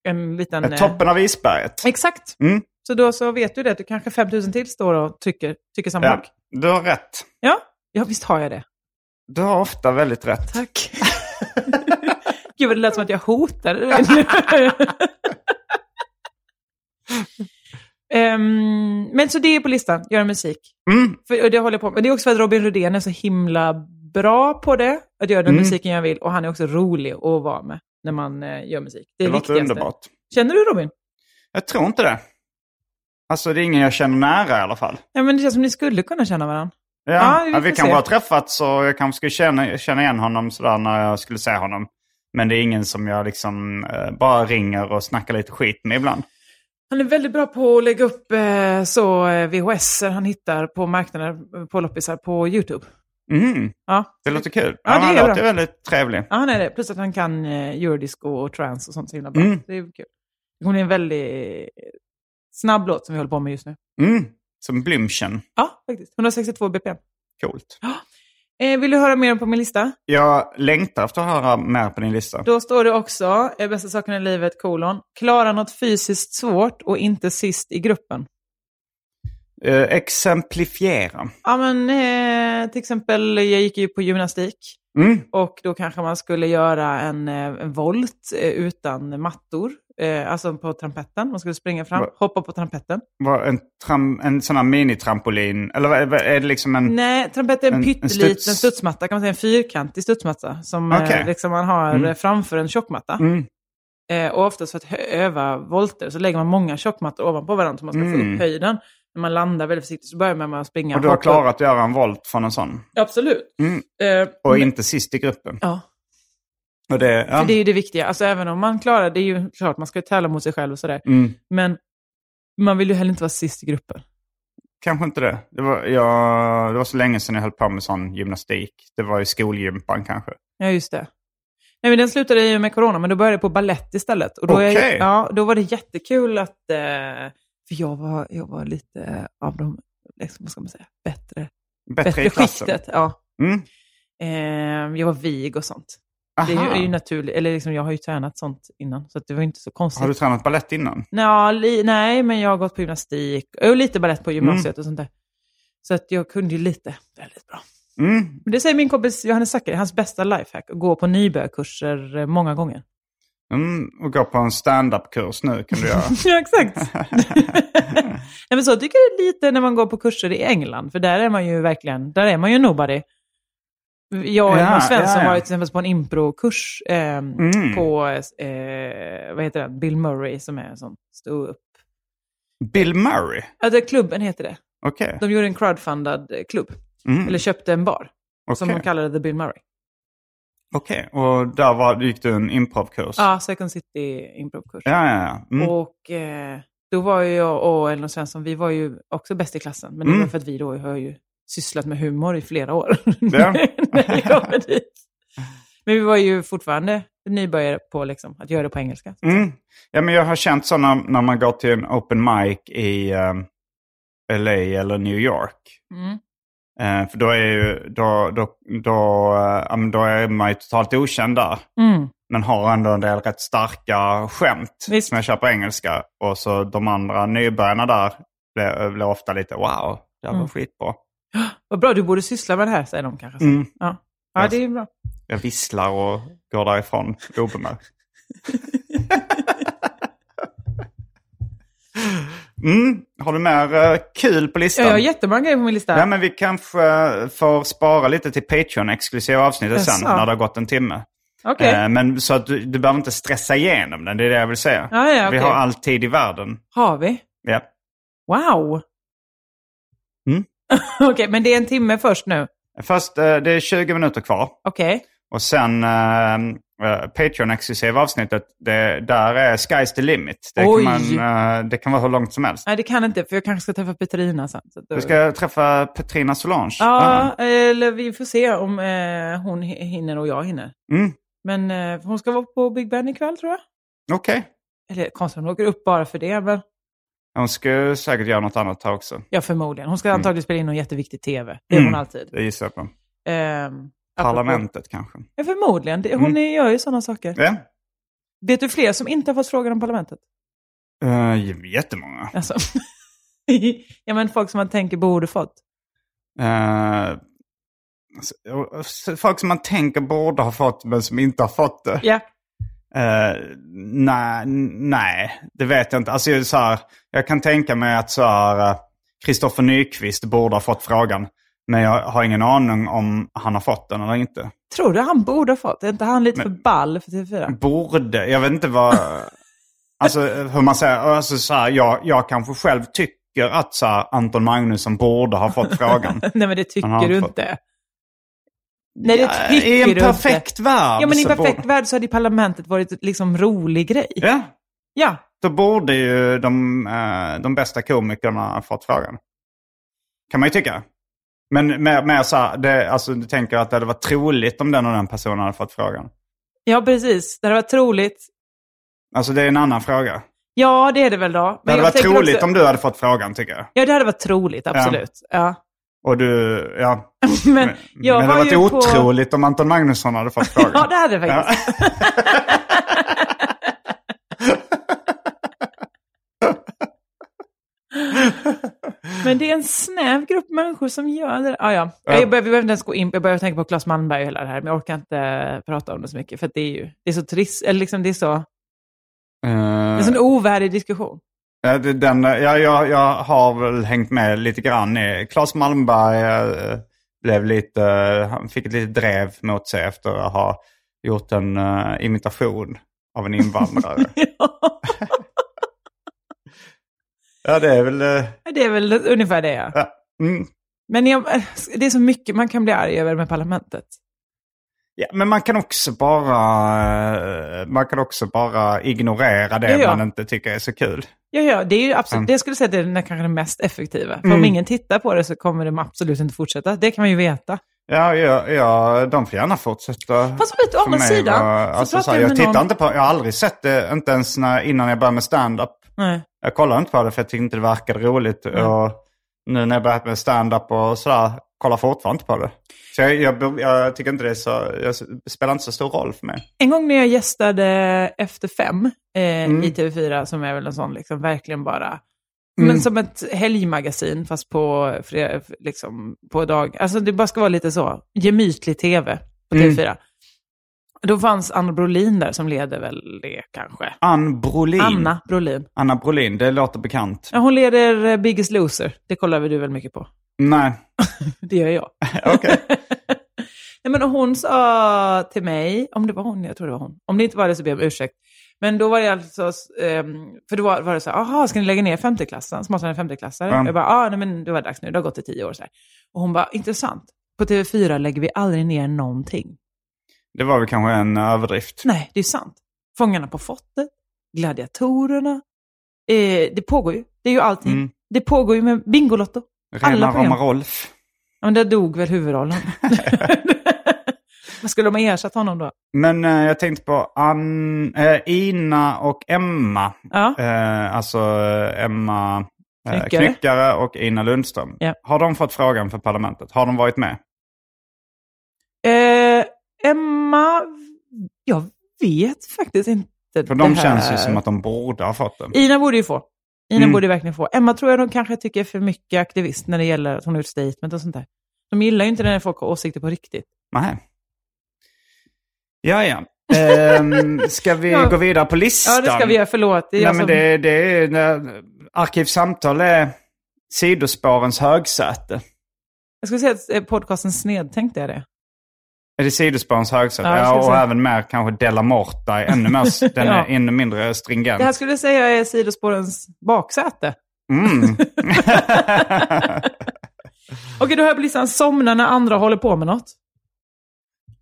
Speaker 2: en liten... eh,
Speaker 1: Toppen av isberget.
Speaker 2: Exakt.
Speaker 1: Mm.
Speaker 2: Så då så vet du det, att du kanske 5000 till står och tycker, tycker samma
Speaker 1: Ja,
Speaker 2: sak.
Speaker 1: du har rätt.
Speaker 2: Ja. ja, visst har jag det.
Speaker 1: Du har ofta väldigt rätt.
Speaker 2: Tack. Gud, vad det lät som att jag hotade dig nu. Ehm, men så det är på listan, göra musik.
Speaker 1: Mm.
Speaker 2: För, och det håller jag på med. Det är också för att Robin Rudén är så himla bra på det. Att göra den
Speaker 1: Mm.
Speaker 2: musiken jag vill. Och han är också rolig att vara med när man eh, gör musik. Det är
Speaker 1: Det
Speaker 2: det
Speaker 1: låter
Speaker 2: viktigaste.
Speaker 1: underbart.
Speaker 2: Känner du Robin?
Speaker 1: Jag tror inte det. Alltså det är ingen jag känner nära i alla fall.
Speaker 2: Ja, men det känns som ni skulle kunna känna varandra.
Speaker 1: Ja,
Speaker 2: Ja, vi
Speaker 1: ja, vi
Speaker 2: får
Speaker 1: kanske
Speaker 2: se.
Speaker 1: har träffats och jag kanske skulle känna, känna igen honom sådär när jag skulle se honom. Men det är ingen som jag liksom eh, bara ringer och snackar lite skit med ibland.
Speaker 2: Han är väldigt bra på att lägga upp eh, så eh, VHS han hittar på marknader, eh, på loppisar, på YouTube.
Speaker 1: Mm,
Speaker 2: Ja,
Speaker 1: det låter kul.
Speaker 2: Ja, det
Speaker 1: han
Speaker 2: är bra.
Speaker 1: låter väldigt trevlig.
Speaker 2: ja han är det. Plus att han kan eh, eurodisco och trance och sånt så himla bra.
Speaker 1: Mm.
Speaker 2: Det är kul. Det kommer bli en väldigt eh, snabb låt som vi håller på med just nu.
Speaker 1: Mm, som Blümchen.
Speaker 2: Ja, faktiskt. 162 BPM.
Speaker 1: Coolt.
Speaker 2: Eh, vill du höra mer på min lista?
Speaker 1: Jag längtar efter att höra mer på din lista.
Speaker 2: Då står det också, eh, bästa saken i livet, kolon, klara något fysiskt svårt och inte sist i gruppen.
Speaker 1: Eh, exemplifiera.
Speaker 2: Ja, men eh, till exempel, jag gick ju på gymnastik.
Speaker 1: Mm,
Speaker 2: Och då kanske man skulle göra en, eh, en volt eh, utan mattor. Eh, alltså på trampetten. Man skulle springa fram,
Speaker 1: Va?
Speaker 2: hoppa på trampetten.
Speaker 1: vad- en, tram, en sån här minitrampolin. Eller vad- vad- är det liksom en...
Speaker 2: Nej, trampetten är en,
Speaker 1: En- en
Speaker 2: pytteliten
Speaker 1: studs.
Speaker 2: studsmatta. Kan man säga, en fyrkantig studsmatta. Som eh,
Speaker 1: Okej.
Speaker 2: liksom man har
Speaker 1: Mm.
Speaker 2: eh, framför en tjockmatta.
Speaker 1: Mm,
Speaker 2: Eh, och oftast för att hö- öva volter så lägger man många tjockmattor ovanpå varandra. Så man ska få
Speaker 1: Mm.
Speaker 2: upp höjden. När man landar väldigt försiktigt så börjar man med att springa.
Speaker 1: och du har
Speaker 2: hoppa upp.
Speaker 1: klarat att göra en volt från en sån.
Speaker 2: Absolut.
Speaker 1: Mm,
Speaker 2: Eh,
Speaker 1: och
Speaker 2: men-
Speaker 1: inte sist i gruppen.
Speaker 2: Ja,
Speaker 1: Och det, ja.
Speaker 2: för det är ju det viktiga. Alltså även om man klarar, det är ju klart man ska ju tävla mot sig själv och sådär.
Speaker 1: mm,
Speaker 2: Men man vill ju heller inte vara sist i gruppen.
Speaker 1: kanske inte det. Det var, jag, det var så länge sedan jag höll på med sån gymnastik. Det var i skolgympan kanske.
Speaker 2: Ja, just det. Nej, men den slutade ju med corona, men då började jag på ballett istället. Och då, är-
Speaker 1: Okej.
Speaker 2: ja, då var det jättekul att... Eh, för jag var, jag var lite eh, av de, liksom, vad ska man säga, bättre,
Speaker 1: Bättre,
Speaker 2: bättre
Speaker 1: i klassen.
Speaker 2: skiktet. Ja.
Speaker 1: Mm.
Speaker 2: Eh, jag var vig och sånt.
Speaker 1: Aha.
Speaker 2: Det är ju, är ju naturligt, eller liksom, jag har ju tränat sånt innan, så att det var inte så konstigt.
Speaker 1: Har du tränat ballett innan?
Speaker 2: Nja, li, nej, men jag har gått på gymnastik och lite ballett på gymnasiet och sånt där. Så att jag kunde ju lite väldigt bra.
Speaker 1: Mm.
Speaker 2: Men det säger min kompis Johannes Zackari, hans bästa lifehack, att gå på nybörjarkurser eh, många gånger.
Speaker 1: Mm. Och gå på en stand-up-kurs nu kan du göra.
Speaker 2: Ja, exakt. Nej, men så tycker jag det är lite när man går på kurser i England, för där är man ju verkligen, där är man ju nobody. Jag och
Speaker 1: Ja,
Speaker 2: Hans Svensson
Speaker 1: ja, ja.
Speaker 2: var ju till exempel på en improkurs eh,
Speaker 1: Mm.
Speaker 2: på, eh, vad heter det, Bill Murray som är en sån stå upp.
Speaker 1: Bill Murray?
Speaker 2: Ja, det, klubben heter det.
Speaker 1: Okej.
Speaker 2: De gjorde en crowdfundad eh, klubb,
Speaker 1: Mm.
Speaker 2: eller köpte en bar, som
Speaker 1: Okej.
Speaker 2: de kallade The Bill Murray.
Speaker 1: Okej, och där var, gick du en improvkurs?
Speaker 2: Ja, Second City improvkurs.
Speaker 1: Ja, ja, ja. Mm.
Speaker 2: Och eh, då var ju jag och Elinor Svensson, vi var ju också bäst i klassen. Men det
Speaker 1: Mm.
Speaker 2: var för att vi då har ju sysslat med humor i flera år.
Speaker 1: Ja.
Speaker 2: När vi kommer dit. Men vi var ju fortfarande nybörjare på liksom, att göra det på engelska.
Speaker 1: Mm. Ja, men jag har känt så när, när man går till en open mic i ehm, LA eller New York.
Speaker 2: Mm.
Speaker 1: Eh, för då är, ju, då, då, då, eh, ja, men då är man ju totalt okänd där.
Speaker 2: Mm.
Speaker 1: Men har ändå en del rätt starka skämt
Speaker 2: Visst.
Speaker 1: som jag kör på engelska. Och så de andra nybörjarna där blir, blir ofta lite wow, det här var
Speaker 2: Mm.
Speaker 1: skitbra.
Speaker 2: Vad bra, du borde syssla med det här, säger de kanske. så.
Speaker 1: Mm.
Speaker 2: Ja. ja, det är ju bra.
Speaker 1: Jag visslar och går därifrån obemärkt. Mm. Har du mer eh, kul på
Speaker 2: Ja,
Speaker 1: listan?
Speaker 2: jag har jättemånga grejer på min lista.
Speaker 1: Ja, men vi kanske eh, får spara lite till Patreon-exklusiva avsnittet sen
Speaker 2: Jaså?
Speaker 1: när det har gått en timme.
Speaker 2: Okej.
Speaker 1: Eh, Men så att du, du behöver inte stressa igenom den, det är det jag vill säga.
Speaker 2: Ja, ja, okej.
Speaker 1: Vi har all tid i världen.
Speaker 2: Har vi?
Speaker 1: Ja.
Speaker 2: Wow!
Speaker 1: Mm.
Speaker 2: Okej, men det är en timme först nu.
Speaker 1: Först, eh, det är 20 minuter kvar.
Speaker 2: Okej.
Speaker 1: Och sen eh, eh, Patreon-exklusiva avsnittet, det, där är sky's the limit. Det
Speaker 2: Oj.
Speaker 1: kan, man, eh, det kan vara hur långt som helst.
Speaker 2: Nej, det kan jag inte, för jag kanske ska träffa Petrina sen. Så då...
Speaker 1: Du ska träffa Petrina Solange. Ah.
Speaker 2: Ja, eller vi får se om eh, hon hi- hinner och jag hinner.
Speaker 1: Mm.
Speaker 2: Men eh, hon ska vara på Big Ben ikväll tror jag.
Speaker 1: Okej.
Speaker 2: Eller konstigt, hon åker upp bara för det. Men,
Speaker 1: Hon ska säkert göra något annat här också.
Speaker 2: ja, förmodligen. Hon ska antagligen spela in någon jätteviktig tv. Det är
Speaker 1: Mm.
Speaker 2: hon alltid.
Speaker 1: Det gissar jag på.
Speaker 2: Ehm, apropå-
Speaker 1: Parlamentet kanske.
Speaker 2: Ja, förmodligen. Det, hon är, gör ju sådana saker.
Speaker 1: Mm. Ja.
Speaker 2: Vet du fler som inte har fått frågan om parlamentet?
Speaker 1: Uh, jättemånga.
Speaker 2: Alltså. ja, men folk som man tänker borde fått.
Speaker 1: Eh, alltså, och- folk som man tänker borde ha fått men som inte har fått det.
Speaker 2: Ja,
Speaker 1: Eh, nej, n- nej, det vet jag inte. Alltså, jag, är så här, jag kan tänka mig att så här, eh, Kristoffer Nyqvist borde ha fått frågan. Men jag har ingen aning om han har fått den eller inte.
Speaker 2: tror du han borde ha fått? Är inte han lite för ball för
Speaker 1: Mm.
Speaker 2: TV4?
Speaker 1: Borde, jag vet inte vad... alltså hur man säger, alltså, så här, jag, jag kanske själv tycker tycker att så här, Anton Magnusson borde ha fått frågan.
Speaker 2: Nej, men det
Speaker 1: Han
Speaker 2: tycker
Speaker 1: har
Speaker 2: du
Speaker 1: fått-
Speaker 2: inte. Nej, det
Speaker 1: Ja,
Speaker 2: tycker
Speaker 1: I
Speaker 2: du
Speaker 1: en
Speaker 2: inte.
Speaker 1: perfekt värld
Speaker 2: Ja, men i en
Speaker 1: så
Speaker 2: perfekt
Speaker 1: borde...
Speaker 2: värld så hade ju parlamentet varit liksom rolig grej.
Speaker 1: Ja,
Speaker 2: Ja,
Speaker 1: då borde ju de, eh, de bästa komikerna ha fått frågan. Kan man ju tycka. Men mer, mer så här, det, alltså, du tänker att det hade varit troligt om den och den personen hade fått frågan.
Speaker 2: ja precis. Det hade varit troligt.
Speaker 1: Alltså det är en annan fråga.
Speaker 2: Ja, det är det väl då. Men
Speaker 1: Det hade
Speaker 2: jag
Speaker 1: varit
Speaker 2: tänker
Speaker 1: troligt
Speaker 2: också-
Speaker 1: om du hade fått frågan tycker jag.
Speaker 2: Ja, det hade varit troligt, absolut. Ja.
Speaker 1: Och du, ja.
Speaker 2: Men jag
Speaker 1: men det
Speaker 2: var
Speaker 1: hade
Speaker 2: ju
Speaker 1: varit
Speaker 2: på...
Speaker 1: otroligt om Anton Magnusson hade fått frågan.
Speaker 2: Ja, det hade det faktiskt. Men det är en snäv grupp människor som gör det. Ah, ja.
Speaker 1: Ja.
Speaker 2: Jag, behöver, vi behöver inte ens gå in Jag börjar tänka på Claes Malmberg och hela det här, men jag orkar inte eh, prata om det så mycket, för att det är ju det är så trist. Eller liksom, det är så... Det är en sån ovärdig diskussion.
Speaker 1: Ja, Eh, det- Den, ja, jag, jag har väl hängt med lite grann. i- Claes Malmberg eh, blev lite, han fick ett litet drev mot sig efter att ha gjort en eh, imitation av en invandrare.
Speaker 2: Ja,
Speaker 1: ja, det är väl... eh,
Speaker 2: det är väl ungefär det, ja.
Speaker 1: ja. Mm.
Speaker 2: Men jag, det är så mycket man kan bli arg över med parlamentet.
Speaker 1: Ja, men man kan också bara eh, man kan också bara ignorera det
Speaker 2: Ja, ja.
Speaker 1: man inte tycker är så kul.
Speaker 2: Ja, ja, det är ju absolut,
Speaker 1: Mm.
Speaker 2: det skulle jag säga att det är den, kanske den mest effektiva. För om ingen tittar på det så kommer det absolut inte fortsätta. Det kan man ju veta.
Speaker 1: Ja, ja, ja de får gärna fortsätta.
Speaker 2: Fast vet du, å
Speaker 1: För
Speaker 2: andra
Speaker 1: mig
Speaker 2: sidan
Speaker 1: var-
Speaker 2: så
Speaker 1: alltså,
Speaker 2: pratar
Speaker 1: så här,
Speaker 2: jag
Speaker 1: jag
Speaker 2: med
Speaker 1: tittar
Speaker 2: någon-
Speaker 1: inte på, jag har aldrig sett det, inte ens när, innan jag började med stand-up.
Speaker 2: Nej.
Speaker 1: Jag kollade inte på det för jag tyckte inte det verkade roligt. Och nu när jag börjat med stand-up och sådär, kollar fortfarande inte på det. Så jag, jag, jag tycker inte det är så, jag, det spelar inte så stor roll för mig.
Speaker 2: En gång när jag gästade Efter fem eh,
Speaker 1: Mm.
Speaker 2: i TV4, som är väl en sån liksom verkligen bara, men som ett helgmagasin fast på, fre- liksom, på dag. Alltså det bara ska vara lite så, gemytlig TV på
Speaker 1: Mm.
Speaker 2: TV4. Då fanns Anna Brolin där som leder väl det kanske.
Speaker 1: Ann Brolin.
Speaker 2: Anna Brolin.
Speaker 1: Anna Brolin, det låter bekant.
Speaker 2: Ja, hon leder eh, Biggest Loser. Det kollar väl du väl mycket på?
Speaker 1: Nej,
Speaker 2: Det gör jag.
Speaker 1: okej.
Speaker 2: Nej, men hon sa till mig, om det var hon, jag tror det var hon. Om det inte var det så ber jag om ursäkt. Men då var det alltså, ehm, för då var, var det så här, jaha, ska ni lägga ner femteklassaren, smartare femteklassare?
Speaker 1: Mm.
Speaker 2: Jag bara, ja, nej men det var dags nu, det har gått i tio år. Så här. Och hon bara, intressant. På TV4 lägger vi aldrig ner någonting.
Speaker 1: Det var väl kanske en överdrift.
Speaker 2: Nej, det är sant. Fångarna på fortet, gladiatorerna. Eh, det pågår ju. Det är ju allting.
Speaker 1: Mm.
Speaker 2: Det pågår ju med Bingolotto. Alla
Speaker 1: Rena
Speaker 2: program.
Speaker 1: rama Rolf.
Speaker 2: Ja, men där dog väl huvudrollen. Vad skulle de ha ersatt honom då?
Speaker 1: Men eh, jag tänkte på Ann, eh, Ina och Emma.
Speaker 2: Ja.
Speaker 1: Eh, alltså eh, Emma eh,
Speaker 2: Knyckare.
Speaker 1: Knyckare och Ina Lundström.
Speaker 2: Ja.
Speaker 1: Har de fått frågan för parlamentet? Har de varit med?
Speaker 2: Eh, Emma, jag vet faktiskt inte.
Speaker 1: För de
Speaker 2: det här.
Speaker 1: känns ju som att de borde ha fått den.
Speaker 2: Ina borde ju få. Ina
Speaker 1: Mm.
Speaker 2: borde verkligen få. Emma tror jag de kanske tycker är för mycket aktivist när det gäller att hon har gjort statement och sånt där. De gillar ju inte när folk har åsikter på riktigt.
Speaker 1: Nej. Ja, ja. Ehm, ska vi
Speaker 2: Ja.
Speaker 1: gå vidare på listan?
Speaker 2: Ja, det ska vi göra. Förlåt. Det är
Speaker 1: Nej,
Speaker 2: jag
Speaker 1: men
Speaker 2: som-
Speaker 1: det, det är, när, arkivsamtal är sidospårens högsäte.
Speaker 2: Jag skulle säga att eh, podcasten snedtänkte jag det.
Speaker 1: Är det sidospårens högsäte?
Speaker 2: Ja, jag
Speaker 1: Ja,
Speaker 2: skulle
Speaker 1: och
Speaker 2: säga.
Speaker 1: även mer kanske Della Morta. är Ännu mer, den
Speaker 2: Ja.
Speaker 1: är ännu mindre stringent.
Speaker 2: Det här skulle jag säga är sidospårens baksäte.
Speaker 1: Mm.
Speaker 2: Okej, då har jag på listan somna när andra håller på med något.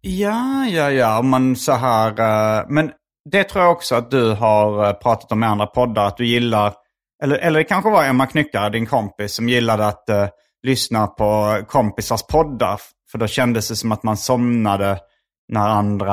Speaker 1: Ja, ja, ja. Om Man så här, eh, men det tror jag också att du har eh, pratat om i andra poddar. Att du gillar, eller, eller det kanske var Emma Knyckare, din kompis, som gillade att eh, lyssna på kompisars poddar. För då kändes det som att man somnade när andra,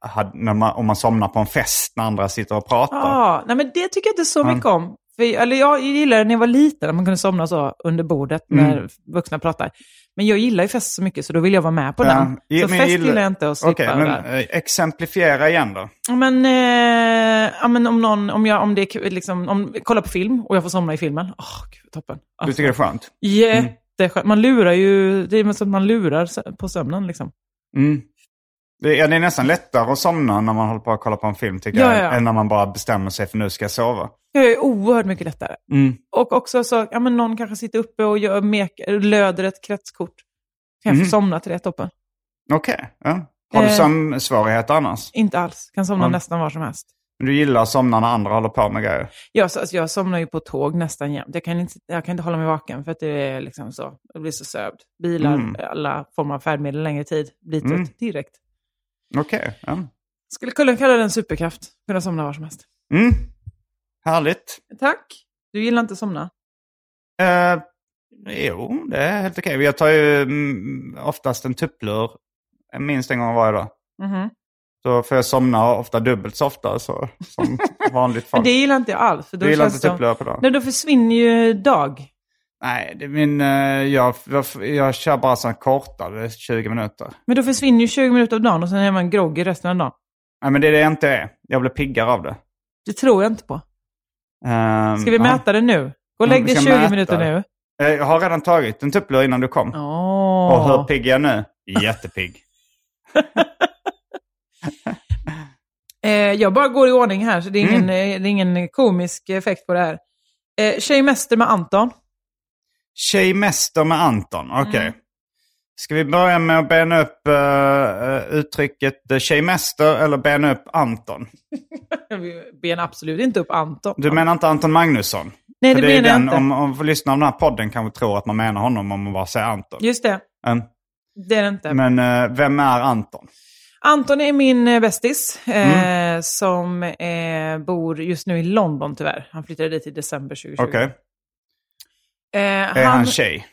Speaker 1: hade, när man, om man somnar på en fest när andra sitter och pratar.
Speaker 2: Ja, nej men det tycker jag inte så mycket om. För, eller jag gillade det när jag var liten, när man kunde somna så under bordet
Speaker 1: Mm.
Speaker 2: när vuxna pratar. Men jag gillar ju fest så mycket, så då vill jag vara med på
Speaker 1: Ja.
Speaker 2: den. Så
Speaker 1: Ja, men
Speaker 2: fest gillar... jag inte att slippa.
Speaker 1: Okej, men
Speaker 2: där.
Speaker 1: eh, exemplifiera igen då.
Speaker 2: Ja, Men, eh, ja, men om någon, om jag, om det är kul, liksom, om, kolla på film och jag får somna i filmen. Åh, gud, toppen.
Speaker 1: Du tycker det är skönt? Mm.
Speaker 2: Jätteskönt. Man lurar ju, det är som att man lurar sö- på sömnen liksom.
Speaker 1: Mm. Det, ja, det är nästan lättare att somna när man håller på att kolla på en film tycker
Speaker 2: Ja,
Speaker 1: jag.
Speaker 2: ja.
Speaker 1: Än när man bara bestämmer sig för nu ska jag sova.
Speaker 2: Jag är oerhört mycket lättare. Och också så, ja men någon kanske sitter uppe och gör mek, löder ett kretskort. Kan jag få
Speaker 1: Mm.
Speaker 2: somna till det, toppen.
Speaker 1: Okej. Ja. Har du
Speaker 2: Eh.
Speaker 1: sömnsvårigheter annars?
Speaker 2: Inte alls. Kan somna
Speaker 1: Ja.
Speaker 2: nästan var som helst.
Speaker 1: Men du gillar att somna när andra håller på med grejer.
Speaker 2: Jag, så- alltså, jag somnar ju på tåg nästan jämt. Jag kan inte, jag kan inte hålla mig vaken för att det är liksom så. Jag blir så sövd. Bilar,
Speaker 1: Mm.
Speaker 2: alla former av färdmedel längre tid blir trött
Speaker 1: Mm.
Speaker 2: direkt.
Speaker 1: Okej. Ja.
Speaker 2: Skulle kunna kalla det en superkraft. Kunna somna var som helst.
Speaker 1: Mm. Härligt.
Speaker 2: Tack. Du gillar inte att somna.
Speaker 1: Eh, jo, det är helt okej. Jag tar ju mm, oftast en tupplur minst en gång varje dag.
Speaker 2: Mhm.
Speaker 1: Så får jag somna ofta dubbelt så ofta så, som vanligt
Speaker 2: Men
Speaker 1: folk.
Speaker 2: det gillar inte jag alls. För då
Speaker 1: Du gillar
Speaker 2: känns
Speaker 1: inte typ
Speaker 2: det som-
Speaker 1: tupplur på dagen?
Speaker 2: Nej, då försvinner ju dag.
Speaker 1: Nej, det är min, eh, jag, jag, jag kör bara sån kortare, 20 minuter.
Speaker 2: Men då försvinner ju 20 minuter av dagen och sen är man groggy resten av dagen.
Speaker 1: Nej, men det är det jag inte är. Jag blir piggare av det.
Speaker 2: Det tror jag inte på.
Speaker 1: Ehm,
Speaker 2: Ska vi
Speaker 1: ja.
Speaker 2: mäta det nu? Gå och
Speaker 1: Ja,
Speaker 2: lägg
Speaker 1: vi
Speaker 2: dig
Speaker 1: ska
Speaker 2: 20
Speaker 1: mäta.
Speaker 2: minuter nu.
Speaker 1: Eh, Jag har redan tagit en tupplur innan du kom.
Speaker 2: Åh.
Speaker 1: Och hur pigg är jag nu? Jättepigg.
Speaker 2: Eh, jag bara går i ordning här, så det är
Speaker 1: Mm.
Speaker 2: ingen, eh, det är ingen komisk effekt på det här. Eh, Tjejmäster med Anton.
Speaker 1: Tjejmäster med Anton, okej.
Speaker 2: Mm.
Speaker 1: Ska vi börja med att bena upp eh, eh, uttrycket eh, tjejmäster eller bena upp Anton?
Speaker 2: Vi ben absolut inte upp Anton.
Speaker 1: Du menar inte Anton Magnusson?
Speaker 2: Nej,
Speaker 1: För
Speaker 2: det
Speaker 1: det är
Speaker 2: menar jag
Speaker 1: den,
Speaker 2: inte.
Speaker 1: om, om vi lyssnar på den här podden kanske tror att man menar honom om man bara säger Anton.
Speaker 2: Just det,
Speaker 1: Mm.
Speaker 2: det är det inte.
Speaker 1: Men eh, vem är Anton?
Speaker 2: Anton är min eh, bästis eh,
Speaker 1: Mm.
Speaker 2: som eh, bor just nu i London tyvärr. Han flyttade dit i december 2020.
Speaker 1: Okej.
Speaker 2: Eh,
Speaker 1: Är han,
Speaker 2: han-
Speaker 1: tjej?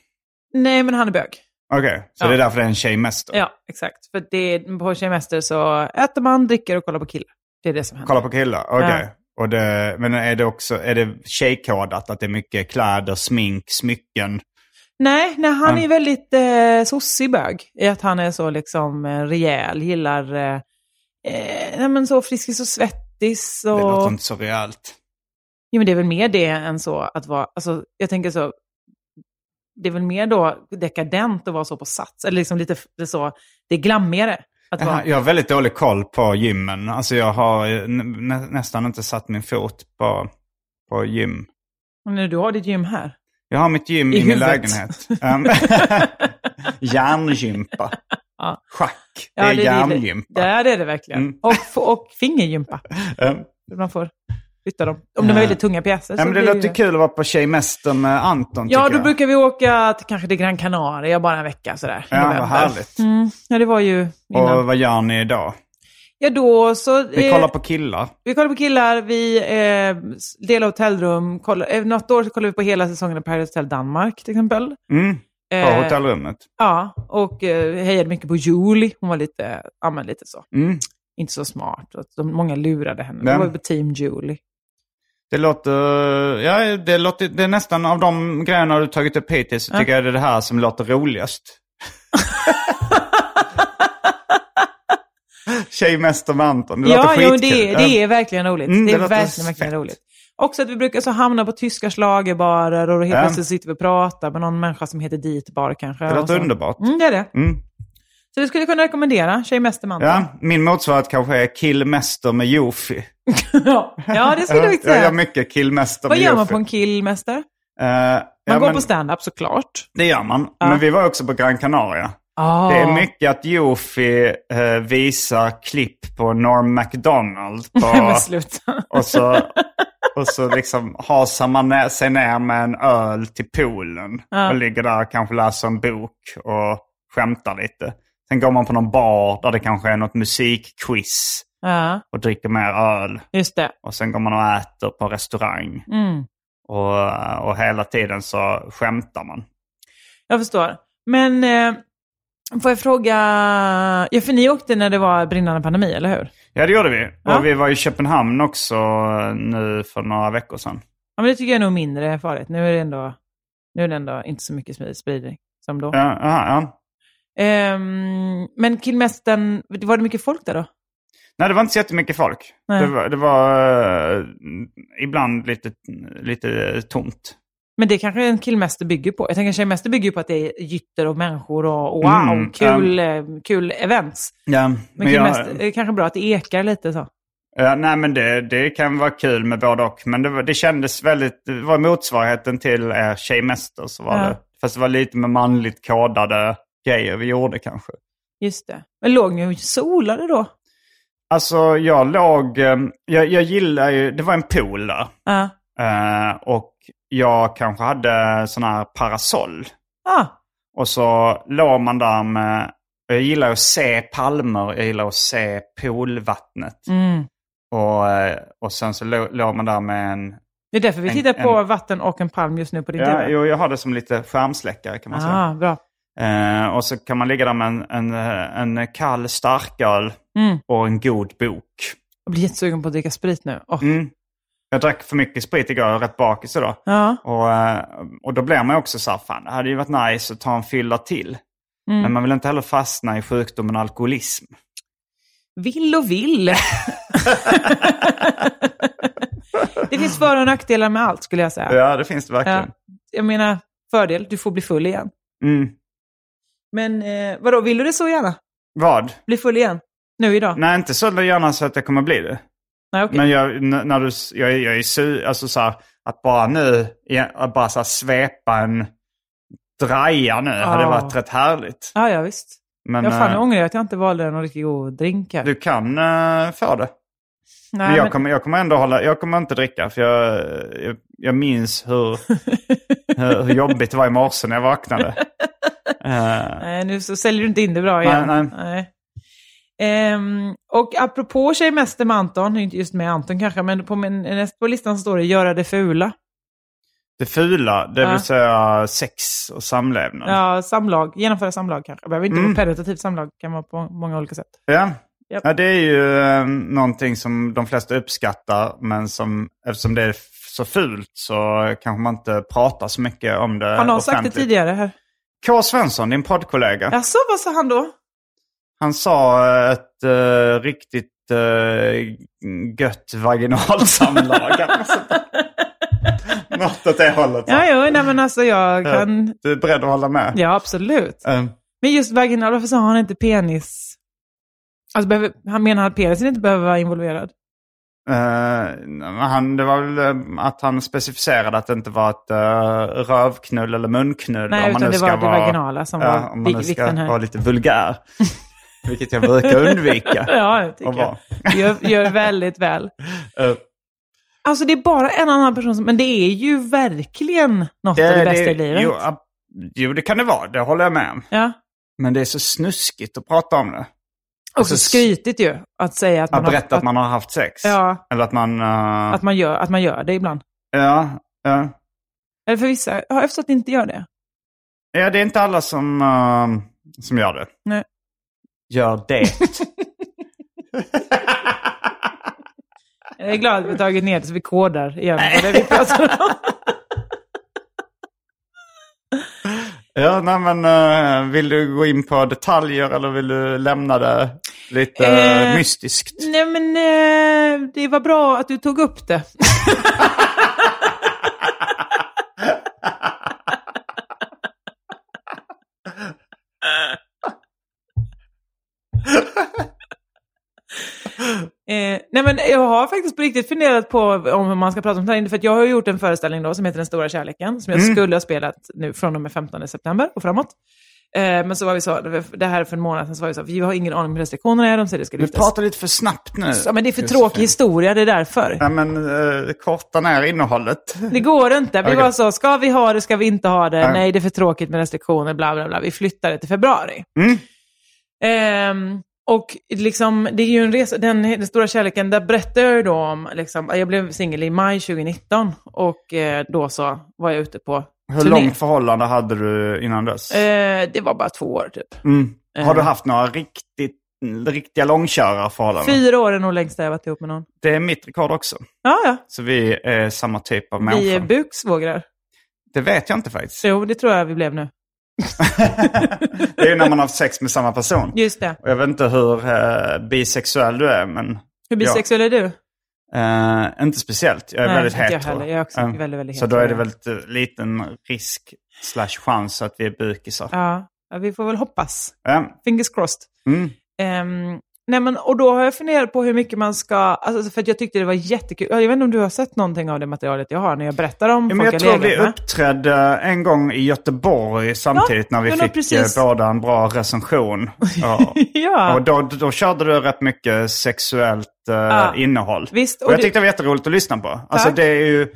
Speaker 2: Nej, men han är bög.
Speaker 1: Okej, så
Speaker 2: Ja.
Speaker 1: det är därför det är en tjejmäster.
Speaker 2: Ja, exakt. För det, på tjejmäster så äter man, dricker och kollar på killar. Det är det som händer.
Speaker 1: Kolla på killar, okej.
Speaker 2: Ja.
Speaker 1: Och det, men är det också är det tjejkodat att det är mycket kläder, smink, smycken?
Speaker 2: Nej, nej han
Speaker 1: Mm.
Speaker 2: är väldigt eh, sossig bög. I att han är så liksom eh, rejäl, gillar eh, eh, nej, men så friskis och svettis. Och...
Speaker 1: Det låter inte så rejält.
Speaker 2: Jo, men det är väl mer det än så att vara, alltså jag tänker så, det är väl mer då dekadent att vara så på sats, eller liksom lite f- det är så, det är glammigare. Att vara,
Speaker 1: Jaha, Jag har väldigt dålig koll på gymmen. Alltså jag har eh, nä- nä- nästan inte satt min fot på, på gym.
Speaker 2: Och nu, du har ditt gym här.
Speaker 1: Jag har mitt gym
Speaker 2: I
Speaker 1: i, min
Speaker 2: huvudet.
Speaker 1: lägenhet. Um, järngympa.
Speaker 2: Ja.
Speaker 1: Schack.
Speaker 2: Ja,
Speaker 1: det är
Speaker 2: Det,
Speaker 1: järngympa.
Speaker 2: ja, det är det verkligen.
Speaker 1: Mm.
Speaker 2: Och, f- och fingergympa.
Speaker 1: Um,
Speaker 2: Man får flytta dem. Om de är väldigt tunga pjäser.
Speaker 1: ja, men det
Speaker 2: blir
Speaker 1: låter kul att vara på Tjejmäster med Anton.
Speaker 2: Ja,
Speaker 1: tycker
Speaker 2: då
Speaker 1: jag.
Speaker 2: brukar vi åka till kanske till Gran Canaria bara en vecka sådär. i
Speaker 1: Ja,
Speaker 2: november.
Speaker 1: vad härligt.
Speaker 2: Mm. Ja, det var ju innan.
Speaker 1: Och vad gör ni idag?
Speaker 2: Ja, då så...
Speaker 1: Vi
Speaker 2: eh,
Speaker 1: kollar på killar.
Speaker 2: vi kollar på killar, vi eh, s- delar hotellrum. Kollar, eh, något år så kollar vi på hela säsongen av Paradise Hotel Danmark till exempel.
Speaker 1: Mm, på
Speaker 2: Eh,
Speaker 1: hotellrummet.
Speaker 2: Ja, och eh, hejade mycket på Julie. Hon var lite, ja, men lite så.
Speaker 1: Mm.
Speaker 2: Inte så smart. Och De, många lurade henne.
Speaker 1: Vem?
Speaker 2: Det var ju på Team Julie.
Speaker 1: Det låter, ja, det låter, det är nästan av de grejerna du tagit upp hittills så tycker jag det är det här som låter roligast. Tjejmäster med Anton, det
Speaker 2: Ja,
Speaker 1: låter
Speaker 2: jo,
Speaker 1: skitkul.
Speaker 2: det, är- det är verkligen roligt.
Speaker 1: Mm,
Speaker 2: det
Speaker 1: det
Speaker 2: är
Speaker 1: låter
Speaker 2: verkligen, verkligen
Speaker 1: fett.
Speaker 2: roligt. Också att vi brukar så hamna på tyska schlagerbarer och då helt
Speaker 1: Ja.
Speaker 2: plötsligt sitter vi och pratar med någon människa som heter Dietbar kanske.
Speaker 1: Det
Speaker 2: och
Speaker 1: låter
Speaker 2: så.
Speaker 1: underbart.
Speaker 2: Mm, det är det.
Speaker 1: Mm.
Speaker 2: Så vi skulle kunna rekommendera Tjejmästerman.
Speaker 1: Ja, min motsvarighet kanske är killmäster med Jofi.
Speaker 2: ja, Ja, det skulle jag faktiskt
Speaker 1: Jag gör
Speaker 2: säga.
Speaker 1: mycket killmäster
Speaker 2: Vad
Speaker 1: med
Speaker 2: gör man
Speaker 1: Jofi.
Speaker 2: på en killmäster? Man
Speaker 1: Eh, ja,
Speaker 2: går
Speaker 1: men,
Speaker 2: på stand-up såklart.
Speaker 1: det gör man. Men vi var också på Gran Canaria.
Speaker 2: Ah.
Speaker 1: Det är mycket att Jofi eh, visar klipp på Norm MacDonald på,
Speaker 2: Men sluta.
Speaker 1: och, så, och så liksom hasar man ner, sig ner med en öl till poolen och ligger där och kanske läser en bok och skämtar lite. Sen går man på någon bar där det kanske är något musikquiz
Speaker 2: Ja,
Speaker 1: och dricker mer öl.
Speaker 2: just det.
Speaker 1: Och sen går man och äter på restaurang.
Speaker 2: Mm.
Speaker 1: Och, och hela tiden så skämtar man.
Speaker 2: Jag förstår. Men eh, får jag fråga... Ja, för ni åkte när det var brinnande pandemi, eller hur?
Speaker 1: Ja, det gjorde vi. Och
Speaker 2: Ja.
Speaker 1: vi var i Köpenhamn också eh, nu för några veckor sedan.
Speaker 2: Ja, men det tycker jag är nog mindre farligt. Nu är det ändå, nu är det ändå inte så mycket smi- spridning som då.
Speaker 1: Ja, aha, ja.
Speaker 2: Ehm, men Killmästaren, var det mycket folk där då?
Speaker 1: Nej, det var inte så jättemycket folk.
Speaker 2: Nej.
Speaker 1: Det var, det var eh, ibland lite, lite tomt.
Speaker 2: Men det kanske en killmäster bygger på. Jag tänker tjejmäster bygger ju på att det är gytter och människor och wow,
Speaker 1: Mm,
Speaker 2: kul, eh, kul events.
Speaker 1: Ja, men
Speaker 2: Men
Speaker 1: jag-
Speaker 2: killmäster, det är kanske bra att det ekar lite så.
Speaker 1: ja, nej, men det, det kan vara kul med både och. Men det, var, det kändes väldigt, det var motsvarigheten till er tjejmäster. Så var
Speaker 2: Ja.
Speaker 1: det. Fast det var lite med manligt kodade grejer vi gjorde kanske.
Speaker 2: Just det. Men låg ni och solade då?
Speaker 1: Alltså jag låg, eh, jag, jag gillar ju, det var en pool där.
Speaker 2: Ja.
Speaker 1: Eh, och jag kanske hade sån här parasoll.
Speaker 2: Ah,
Speaker 1: Och så låg man där med, och jag gillar att se palmer, jag gillar att se poolvattnet.
Speaker 2: mm.
Speaker 1: Och, eh, och sen så lå- låg man där med en,
Speaker 2: Det är därför vi
Speaker 1: En-
Speaker 2: tittar på
Speaker 1: en-
Speaker 2: vatten och en palm just nu på din
Speaker 1: ja,
Speaker 2: tv.
Speaker 1: jo, alltså. jag har det som lite skärmsläckare kan man säga.
Speaker 2: ah, bra.
Speaker 1: Eh, och så kan man ligga där med en, en, eh, en kall starköl
Speaker 2: Mm.
Speaker 1: och en god bok.
Speaker 2: Jag blir jättesugen på att dricka sprit nu. Åh.
Speaker 1: Mm. Jag drack för mycket sprit igår, jag var rätt bakis idag.
Speaker 2: Ja. mm.
Speaker 1: Och, eh, och då blir man ju också så här, fan det hade ju varit nice att ta en fylla till.
Speaker 2: Mm.
Speaker 1: Men man vill inte heller fastna i sjukdomen alkoholism.
Speaker 2: Vill och vill. det finns för och nackdelar med allt skulle jag säga.
Speaker 1: Ja, det finns det verkligen.
Speaker 2: Ja. Jag menar, fördel, du får bli full igen.
Speaker 1: Mm.
Speaker 2: Men eh, vadå, vill du det så gärna?
Speaker 1: Vad?
Speaker 2: Bli full igen? Nu idag?
Speaker 1: Nej, inte så gärna så att jag kommer bli det.
Speaker 2: Nej, okej.
Speaker 1: Men jag, n- när du, s- jag, är- jag är su, alltså så här, att bara nu, ja, att bara så här, svepa en draja nu hade
Speaker 2: Ja.
Speaker 1: varit rätt härligt.
Speaker 2: Ja, ja, visst.
Speaker 1: Men
Speaker 2: jag fan
Speaker 1: eh,
Speaker 2: jag ångrar att jag inte valde någon riktigt god drink här.
Speaker 1: du kan eh, få det.
Speaker 2: Nej,
Speaker 1: Men jag,
Speaker 2: men-
Speaker 1: kommer, jag kommer ändå hålla, jag kommer inte dricka för jag, jag, jag minns hur, hur, hur jobbigt det var i morse när jag vaknade. Eh,
Speaker 2: Nej, nu så säljer du inte in det bra igen.
Speaker 1: Nej, nej.
Speaker 2: Ehm, och apropå tjejmäster med Anton, det är inte just med Anton kanske, men på, min, näst på listan står det göra det fula.
Speaker 1: det fula, det vill
Speaker 2: Ja.
Speaker 1: säga sex och samlevnad.
Speaker 2: Ja, samlag, genomföra samlag kanske. Det behöver inte
Speaker 1: Mm.
Speaker 2: vara penetrativt samlag, det kan vara på många olika sätt.
Speaker 1: Ja.
Speaker 2: Japp.
Speaker 1: ja, det är ju eh, någonting som de flesta uppskattar, men som, eftersom det är f- så fult så kanske man inte pratar så mycket om det
Speaker 2: Har någon sagt det
Speaker 1: offentligt.
Speaker 2: tidigare? Här?
Speaker 1: K. Svensson, din poddkollega,
Speaker 2: Jaså, vad sa han då?
Speaker 1: han sa eh, ett eh, riktigt uh, gött vaginalsamlag. Något åt det hållet.
Speaker 2: Ja, jo, nej men alltså jag kan...
Speaker 1: Du är beredd att hålla med?
Speaker 2: Ja, absolut.
Speaker 1: Eh,
Speaker 2: Men just vaginal, varför sa han inte penis? Alltså, behöver, han menar att penisen inte behöver vara involverad?
Speaker 1: eh, han, det var väl eh, att han specificerade att det inte var ett eh, rövknull eller munknull.
Speaker 2: Nej,
Speaker 1: om man
Speaker 2: utan
Speaker 1: nu
Speaker 2: det
Speaker 1: ska
Speaker 2: var det
Speaker 1: vara-
Speaker 2: vaginala som
Speaker 1: Ja, om
Speaker 2: var
Speaker 1: man
Speaker 2: vik-
Speaker 1: nu ska
Speaker 2: vikten här.
Speaker 1: vara lite vulgär. Vilket jag brukar undvika.
Speaker 2: Ja, det tycker
Speaker 1: att vara.
Speaker 2: jag. Gör, gör väldigt väl.
Speaker 1: Eh,
Speaker 2: Alltså det är bara en annan person som... Men det är ju verkligen något av det bästa i livet.
Speaker 1: Jo, ab- jo, det kan det vara. Det håller jag med om.
Speaker 2: Ja.
Speaker 1: Men det är så snuskigt att prata om det.
Speaker 2: Och så skrytigt ju att säga att man
Speaker 1: Att Alltså berätta
Speaker 2: har,
Speaker 1: att man har haft sex.
Speaker 2: ja,
Speaker 1: Eller att man... eh,
Speaker 2: att man, gör, att man gör det ibland.
Speaker 1: ja, ja.
Speaker 2: Eller för vissa, jag har jag förstått att ni inte gör det.
Speaker 1: ja, det är inte alla som, eh, som gör det.
Speaker 2: Nej.
Speaker 1: Gör det.
Speaker 2: Jag är glad att vi har tagit ner det så vi kodar igen vad det är vi pratar om.
Speaker 1: ja, nej, men, eh, vill du gå in på detaljer eller vill du lämna det lite eh,
Speaker 2: Eh,
Speaker 1: mystiskt?
Speaker 2: Nej men eh, det var bra att du tog upp det. Eh, nej men jag har faktiskt på riktigt funderat på om hur man ska prata om det här. För att jag har ju gjort en föreställning då som heter Den stora kärleken. Som jag skulle ha spelat nu från och med 15 september och framåt. Eh, men så var vi så, det här är för en månad sedan, så var vi så, vi har ingen aning om hur restriktionerna är. De säger det ska
Speaker 1: Du
Speaker 2: lyftas.
Speaker 1: pratar lite för snabbt nu.
Speaker 2: Ja, men det är för
Speaker 1: Josefin.
Speaker 2: tråkig historia, det är därför.
Speaker 1: Nej, men eh, korta ner innehållet.
Speaker 2: Det går inte. Vi
Speaker 1: Okej.
Speaker 2: var så, ska vi ha det, ska vi inte ha det?
Speaker 1: Nej.
Speaker 2: Nej, det är för tråkigt med restriktioner, bla bla bla. Vi flyttar det till februari.
Speaker 1: Mm.
Speaker 2: Ehm, och liksom, det är ju en resa, den, den stora kärleken, där berättar jag ju då om, liksom, jag blev singel i maj 2019 och eh, då så var jag ute på
Speaker 1: Hur
Speaker 2: turné.
Speaker 1: långt förhållande hade du innan dess?
Speaker 2: Eh, det var bara två år typ.
Speaker 1: mm. Har du
Speaker 2: eh.
Speaker 1: haft några riktigt, riktiga långkörarförhållanden?
Speaker 2: Fyra år är nog längst jag har varit ihop med någon.
Speaker 1: Det är mitt rekord också.
Speaker 2: Ja, ja.
Speaker 1: Så vi är samma typ av
Speaker 2: Vi är
Speaker 1: människor.
Speaker 2: buksvågrar.
Speaker 1: Det vet jag inte faktiskt.
Speaker 2: Jo, det tror jag vi blev nu.
Speaker 1: det är ju när man har haft sex med samma person.
Speaker 2: Just det.
Speaker 1: Och jag vet inte hur eh, bisexuell du är, men
Speaker 2: Hur bisexuell är du?
Speaker 1: eh, inte speciellt. Jag är
Speaker 2: Nej,
Speaker 1: väldigt
Speaker 2: inte jag
Speaker 1: hetero.
Speaker 2: heller. Jag är också
Speaker 1: Eh,
Speaker 2: väldigt, väldigt
Speaker 1: Så då är det
Speaker 2: hetero.
Speaker 1: väldigt eh, liten risk slash chans att vi är bukisar.
Speaker 2: Ja, ja vi får väl hoppas.
Speaker 1: Ja.
Speaker 2: Fingers crossed.
Speaker 1: Mm.
Speaker 2: Ehm, Nej, men, och då har jag funderat på hur mycket man ska, alltså, för att jag tyckte det var jättekul. Jag vet inte om du har sett någonting av det materialet jag har när jag berättar om
Speaker 1: Ja,
Speaker 2: folk
Speaker 1: men jag tror vi
Speaker 2: legat med.
Speaker 1: uppträdde en gång i Göteborg samtidigt
Speaker 2: Ja,
Speaker 1: när vi
Speaker 2: ja, men
Speaker 1: fick
Speaker 2: precis.
Speaker 1: eh, båda en bra recension. Ja.
Speaker 2: Ja.
Speaker 1: Och då, då körde du rätt mycket sexuellt eh, innehåll.
Speaker 2: Visst,
Speaker 1: och
Speaker 2: och
Speaker 1: jag
Speaker 2: det-
Speaker 1: tyckte det var jätteroligt att lyssna på. Alltså
Speaker 2: Tack.
Speaker 1: det är ju...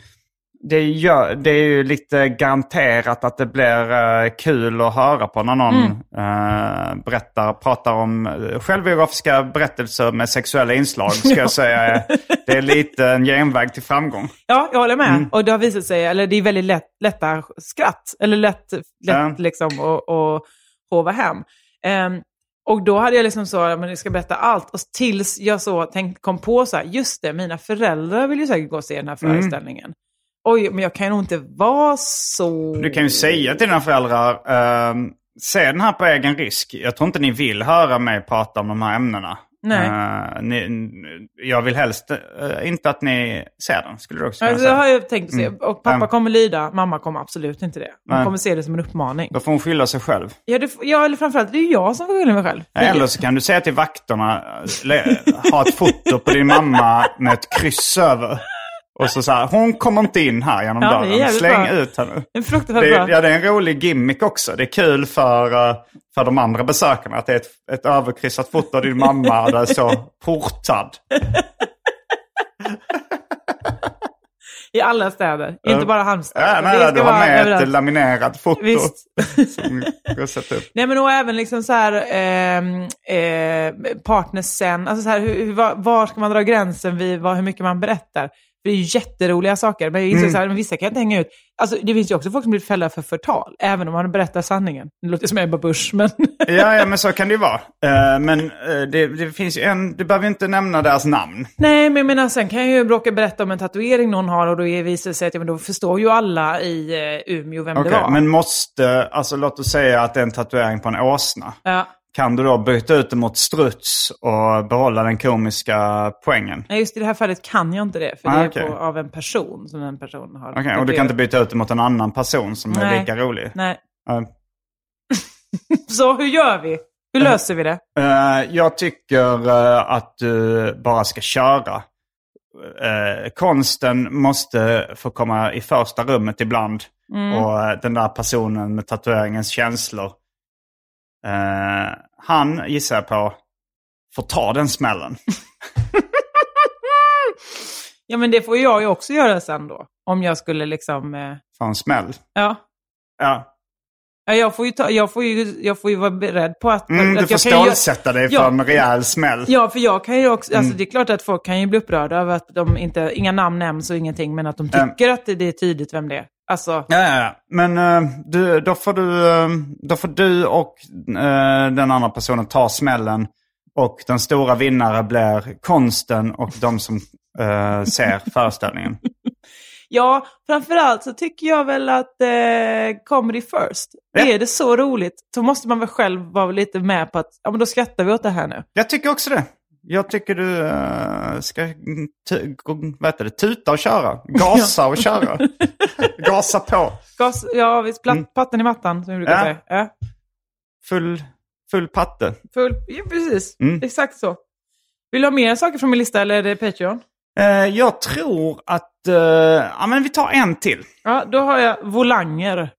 Speaker 1: Det är, ju, det är ju lite garanterat att det blir eh, kul att höra på när någon
Speaker 2: Mm.
Speaker 1: eh, berättar, pratar om eh, självbiografiska berättelser med sexuella inslag. Ska jag säga. eh, Det är lite en genväg till framgång.
Speaker 2: Ja, jag håller
Speaker 1: Mm.
Speaker 2: med. Och det har visat sig, eller det är väldigt lätt, lätta skratt, eller lätt, lätt
Speaker 1: Ja.
Speaker 2: liksom att att hova hem. Ehm, och då hade jag liksom så, ja, men jag ska berätta allt. Och tills jag så tänk, kom på så här, just det, mina föräldrar vill ju säkert gå och se den här
Speaker 1: Mm.
Speaker 2: föreställningen. Oj, men jag kan ju nog inte vara så...
Speaker 1: Du kan ju säga till dina föräldrar, ehm, se den här på egen risk. Jag tror inte ni vill höra mig prata om de här ämnena.
Speaker 2: Nej.
Speaker 1: Eh, ni, n- jag vill helst eh, inte att ni ser den, skulle du också kunna
Speaker 2: Alltså, det
Speaker 1: säga.
Speaker 2: har jag tänkt att se.
Speaker 1: Mm.
Speaker 2: Och pappa
Speaker 1: Mm.
Speaker 2: kommer lyda, mamma kommer absolut inte det. Hon
Speaker 1: Nej.
Speaker 2: kommer se det som en uppmaning.
Speaker 1: Då får hon skylla sig själv.
Speaker 2: Ja, det, ja, eller framförallt, det är ju jag som får skylla mig själv.
Speaker 1: Eller så kan du säga till vakterna, le- ha ett foto på din mamma med ett kryss över. Och så så här, hon kommer inte in här genom
Speaker 2: Ja, det är
Speaker 1: dörren.
Speaker 2: jävligt
Speaker 1: Släng
Speaker 2: bra.
Speaker 1: ut henne.
Speaker 2: En fruktansvärt
Speaker 1: Det är,
Speaker 2: bra.
Speaker 1: ja, det är en rolig gimmick också. Det är kul för, eh, för de andra besökarna att det är ett, ett överkryssat foto av din mamma där så portad.
Speaker 2: I alla städer, inte bara Halmstad.
Speaker 1: Ja,
Speaker 2: Det
Speaker 1: nej,
Speaker 2: ska
Speaker 1: du har
Speaker 2: vara
Speaker 1: med ett
Speaker 2: överallt.
Speaker 1: laminerat foto.
Speaker 2: Visst.
Speaker 1: Som går att sätta upp.
Speaker 2: Nej, men och även liksom så här, ehm, eh, partners sen, alltså så här, hur, hur, var, var ska man dra gränsen vid vad, hur mycket man berättar? För det är ju jätteroliga saker, men jag inser
Speaker 1: Mm.
Speaker 2: så här, men vissa kan jag inte hänga ut. Alltså, det finns ju också folk som blir fällda för förtal, även om man berättar sanningen. Det låter som Ebba Busch, men...
Speaker 1: Ja, ja, men så kan det ju vara. Eh, men eh, det, det finns ju en, du behöver ju inte nämna deras namn.
Speaker 2: Nej, men jag menar, sen kan jag ju bråka berätta om en tatuering någon har och då är- visar det sig att ja, men då förstår ju alla i eh, Umeå vem
Speaker 1: Okej,
Speaker 2: det var.
Speaker 1: Men måste, alltså låt oss säga att det är en tatuering på en åsna.
Speaker 2: Ja,
Speaker 1: Kan du då byta ut den mot struts och behålla den komiska poängen?
Speaker 2: nej, just i det här fallet kan jag inte det, för
Speaker 1: Ah,
Speaker 2: det är
Speaker 1: okej.
Speaker 2: på, av en person som en person har.
Speaker 1: Okej, och du kan inte byta ut den mot en annan person som är
Speaker 2: Nej.
Speaker 1: lika rolig?
Speaker 2: Nej.
Speaker 1: Ja.
Speaker 2: Så hur gör vi? Hur löser vi det?
Speaker 1: Eh, jag tycker eh, att du bara ska köra. Eh, konsten måste få komma i första rummet ibland.
Speaker 2: Mm.
Speaker 1: Och eh, den där personen med tatueringens känslor. eh, han, gissar jag på, får ta den smällen.
Speaker 2: Ja, men det får jag ju också göra sen då. Om jag skulle liksom... Eh,
Speaker 1: Får en smäll.
Speaker 2: ja.
Speaker 1: Ja.
Speaker 2: Ja, jag, får ju ta, jag, får ju, jag får ju vara beredd på att...
Speaker 1: Mm, du
Speaker 2: att
Speaker 1: får
Speaker 2: jag kan ju-
Speaker 1: stålsätta dig för
Speaker 2: Ja.
Speaker 1: en rejäl smäll.
Speaker 2: Ja, för jag kan ju också,
Speaker 1: Mm.
Speaker 2: alltså det är klart att folk kan ju bli upprörda över att de inte, inga namn nämns och ingenting, men att de tycker att det, det är tydligt vem det är. Alltså,
Speaker 1: Ja, ja, ja. Men eh, du, då, får du, eh, då får du och eh, den andra personen ta smällen. Och den stora vinnare blir konsten och de som eh, ser föreställningen.
Speaker 2: ja, framförallt så tycker jag väl att eh, comedy first.
Speaker 1: Ja.
Speaker 2: Är det så roligt, så måste man väl själv vara lite med på att, ja men då skrattar vi åt det här nu.
Speaker 1: Jag tycker också det. Jag tycker du eh, ska t- gå- vad heter det, tuta och köra. Gasa och köra. Gasa på.
Speaker 2: Gas, ja visst, platt, patten i mattan som vi brukar
Speaker 1: Mm. Ja.
Speaker 2: säga. Ja,
Speaker 1: Full, full patte.
Speaker 2: full, ja, precis,
Speaker 1: Mm.
Speaker 2: exakt så. Vill du ha mer saker från min lista eller är det Patreon?
Speaker 1: Eh, jag tror att... eh, ja, men vi tar en till.
Speaker 2: Ja, då har jag volanger.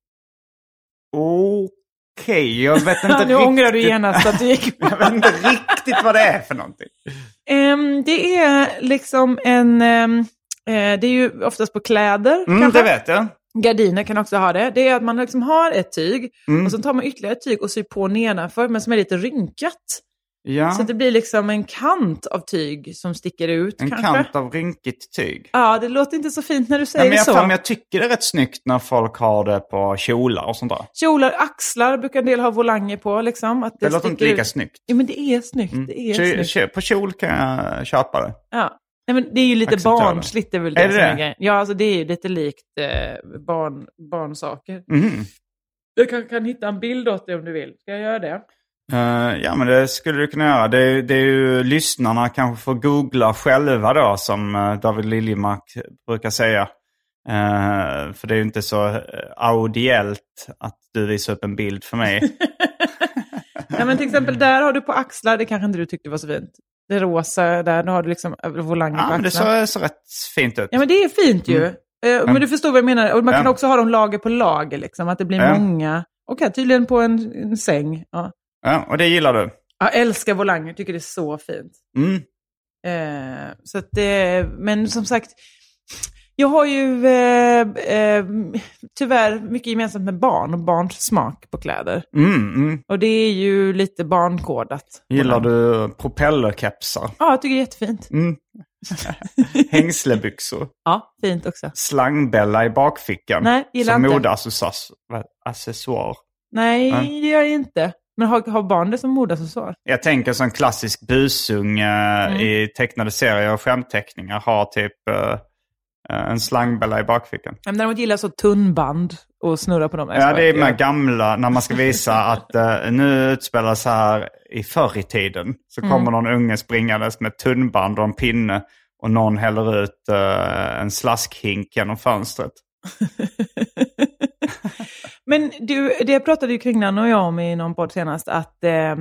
Speaker 1: Okej, jag vet inte
Speaker 2: Nu
Speaker 1: riktigt.
Speaker 2: ångrar du genast att du gick med.
Speaker 1: Jag vet inte riktigt vad det är för någonting.
Speaker 2: Ehm, det är liksom en... ehm, eh, det är ju oftast på kläder.
Speaker 1: Mm,
Speaker 2: kanske.
Speaker 1: det vet jag.
Speaker 2: Gardiner kan också ha det. Det är att man liksom har ett tyg
Speaker 1: Mm.
Speaker 2: och så tar man ytterligare ett tyg och syr på nedanför men som är lite rynkat. Så
Speaker 1: Ja,
Speaker 2: att det blir liksom en kant av tyg som sticker ut
Speaker 1: en
Speaker 2: kanske.
Speaker 1: kant av rynkigt tyg.
Speaker 2: Ja, det låter inte så fint när du säger
Speaker 1: Nej, men jag,
Speaker 2: så.
Speaker 1: fan, jag tycker det är rätt snyggt när folk har det på kjolar och sånt där.
Speaker 2: Kjolar, axlar brukar en del ha volanger på. Liksom, att det
Speaker 1: Det, låter inte
Speaker 2: sticker
Speaker 1: lika
Speaker 2: ut.
Speaker 1: snyggt. Mm.
Speaker 2: Jo, men det är snyggt. Det är
Speaker 1: Ky-
Speaker 2: snyggt.
Speaker 1: ky- på kjol kan jag köpa det.
Speaker 2: Ja. Nej, men det är ju lite
Speaker 1: Acceptabelt.
Speaker 2: barnsligt. Det är, väl det
Speaker 1: Är det
Speaker 2: som är
Speaker 1: det?
Speaker 2: grejen. Ja, alltså det är ju lite likt eh, barn, barnsaker.
Speaker 1: Mhm.
Speaker 2: Jag kan, kan hitta en bild åt dig om du vill. Ska jag göra det?
Speaker 1: Eh, ja, men det skulle du kunna göra. Det, är- det är ju lyssnarna kanske får googla själva då, som eh, David Liljemark brukar säga. Eh, för det är ju inte så eh, audiellt att du visar upp en bild för mig.
Speaker 2: Ja, men till exempel där har du på axlar, det kanske inte du tyckte var så fint. Det rosa där, då har du liksom över volangen
Speaker 1: Ja,
Speaker 2: på
Speaker 1: men det
Speaker 2: axlarna.
Speaker 1: såg, såg rätt fint ut.
Speaker 2: Ja, men det är fint ju. Eh, Men du förstår vad jag menar. Och man kan
Speaker 1: Ja.
Speaker 2: också ha dem lager på lager, liksom. Att det blir
Speaker 1: Ja.
Speaker 2: många. Okej, tydligen på en, en säng. Ja.
Speaker 1: Ja, och det gillar du.
Speaker 2: Jag älskar volanger, tycker det är så fint.
Speaker 1: Mm.
Speaker 2: Eh, så att det, men som sagt, jag har ju eh, eh, tyvärr mycket gemensamt med barn och barns smak på kläder.
Speaker 1: Mm, mm.
Speaker 2: Och det är ju lite barnkodat.
Speaker 1: Gillar du propellerkepsar?
Speaker 2: Ja, jag tycker det är jättefint.
Speaker 1: Mm. Hängslebyxor?
Speaker 2: Ja, fint också.
Speaker 1: Slangbälla i bakfickan?
Speaker 2: Nej, gillar
Speaker 1: som
Speaker 2: inte.
Speaker 1: modeaccessoir?
Speaker 2: Nej, det gör jag inte. Men har, har barn det som modeaccessoar?
Speaker 1: Jag tänker som klassisk busunge i tecknade serier och skämtteckningar har typ eh, en slangbälla i bakfickan.
Speaker 2: Ja, men Däremot gillar jag så tunnband och snurra på dem. Jag
Speaker 1: Ja,
Speaker 2: skojar.
Speaker 1: det är de här gamla, när man ska visa att eh, nu utspelar sig här i förr i tiden. Så kommer någon unge springandes med ett tunnband och en pinne och någon häller ut eh, en slaskhink genom fönstret.
Speaker 2: Men du, det pratade ju Kringlan och jag om i någon podd senast, att eh,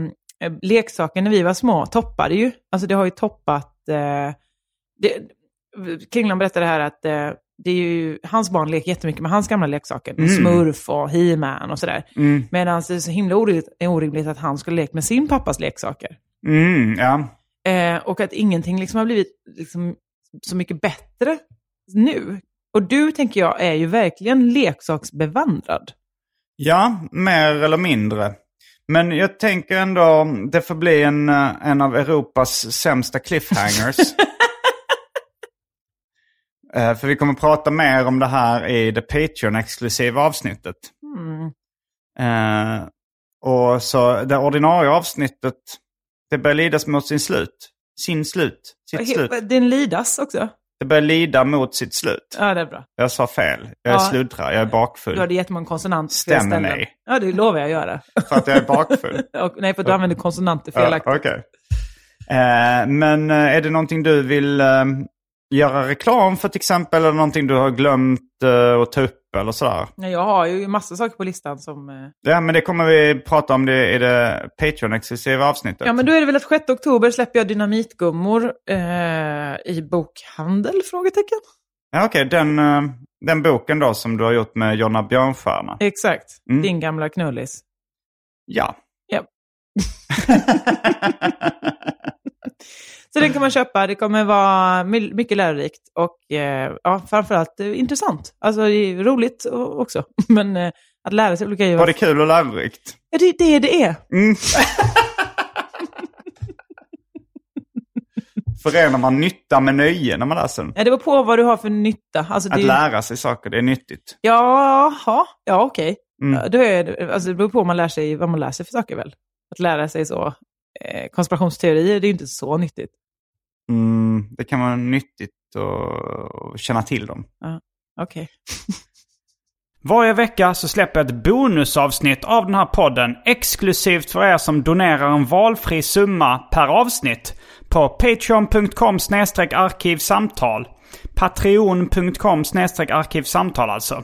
Speaker 2: leksaker när vi var små toppade ju. Alltså det har ju toppat... Eh, det, Kringlan berättade här att eh, det är ju, hans barn leker jättemycket med hans gamla leksaker. Smurf och He-Man och sådär.
Speaker 1: Mm.
Speaker 2: Medan det är så himla orimligt, orimligt att han skulle leka med sin pappas leksaker.
Speaker 1: Mm, ja.
Speaker 2: Eh, och att ingenting liksom har blivit liksom, så mycket bättre nu. Och du, tänker jag, är ju verkligen leksaksbevandrad.
Speaker 1: Ja, mer eller mindre. Men jag tänker ändå, det får bli en, eh, en av Europas sämsta cliffhangers. Eh, För vi kommer prata mer om det här i det Patreon-exklusiva avsnittet.
Speaker 2: Mm.
Speaker 1: Eh, och så det ordinarie avsnittet, det börjar lidas mot sin slut. Sin slut. Sitt slut.
Speaker 2: Den lidas också.
Speaker 1: Det börjar lida mot sitt slut.
Speaker 2: Ja, det är bra.
Speaker 1: Jag sa fel. Jag är
Speaker 2: Ja.
Speaker 1: sluddra, jag är bakfull.
Speaker 2: Du hade jättemånga konsonanter.
Speaker 1: Stämmer
Speaker 2: ställen.
Speaker 1: mig.
Speaker 2: Ja, det lovar jag att göra.
Speaker 1: För att jag är bakfull.
Speaker 2: Och, nej, för att du använder konsonanter
Speaker 1: Ja,
Speaker 2: felaktigt.
Speaker 1: Okej. Eh, men eh, är det någonting du vill eh, göra reklam för till exempel? Eller någonting du har glömt eh, att ta upp eller sådär?
Speaker 2: Nej, jag har ju massa saker på listan som... eh,
Speaker 1: Ja, men det kommer vi prata om det i det Patreon-exklusiva avsnittet.
Speaker 2: Ja, men då är det väl att 6 oktober släpper jag dynamitgummor eh, i bokhandel? Frågetecken.
Speaker 1: Ja, Okej, den, eh, den boken då som du har gjort med Jonna Björnstjärna.
Speaker 2: Exakt.
Speaker 1: Mm.
Speaker 2: Din gamla knullis.
Speaker 1: Ja.
Speaker 2: Ja. Så den kan man köpa. Det kommer vara my- mycket lärorikt och eh, ja, framförallt eh, intressant. Alltså det är roligt o- också. Men eh, att lära sig olika
Speaker 1: Var
Speaker 2: grejer.
Speaker 1: det kul och lärorikt?
Speaker 2: Ja, det, det är det Eh, är.
Speaker 1: Mm. Förenar man nytta med nöje när man läser den?
Speaker 2: Ja, det var på vad du har för nytta. Alltså, det
Speaker 1: Att
Speaker 2: är-
Speaker 1: lära sig saker, det är nyttigt.
Speaker 2: Jaha, ja okej.
Speaker 1: Mm.
Speaker 2: Ja, då är det- alltså, det beror på vad man lär sig, vad man lär sig för saker väl. Att lära sig så eh, konspirationsteorier, det är ju inte så nyttigt.
Speaker 1: Mm, det kan vara nyttigt att känna till dem.
Speaker 2: Okej.
Speaker 3: Varje vecka så släpper jag ett bonusavsnitt av den här podden exklusivt för er som donerar en valfri summa per avsnitt på patreon.com arkivsamtal. Patreon.com arkivsamtal alltså.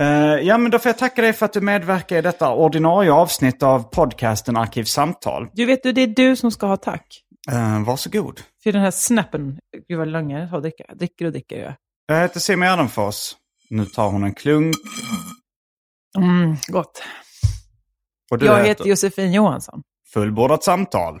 Speaker 1: Eh, ja, men då får jag tacka dig för att du medverkar i detta ordinarie avsnitt av podcasten Arkivsamtal.
Speaker 2: Du vet du, det är du som ska ha tack.
Speaker 1: Uh, varsågod.
Speaker 2: För den här snappen, gud vad lång jag har att dricka. Jag dricker och dricker. Jag.
Speaker 1: Jag heter Simon Gärdenfors. Nu tar hon en klunk.
Speaker 2: Mm, gott.
Speaker 1: Och du
Speaker 2: Jag heter Josefin Johansson.
Speaker 1: Fullbordat samtal.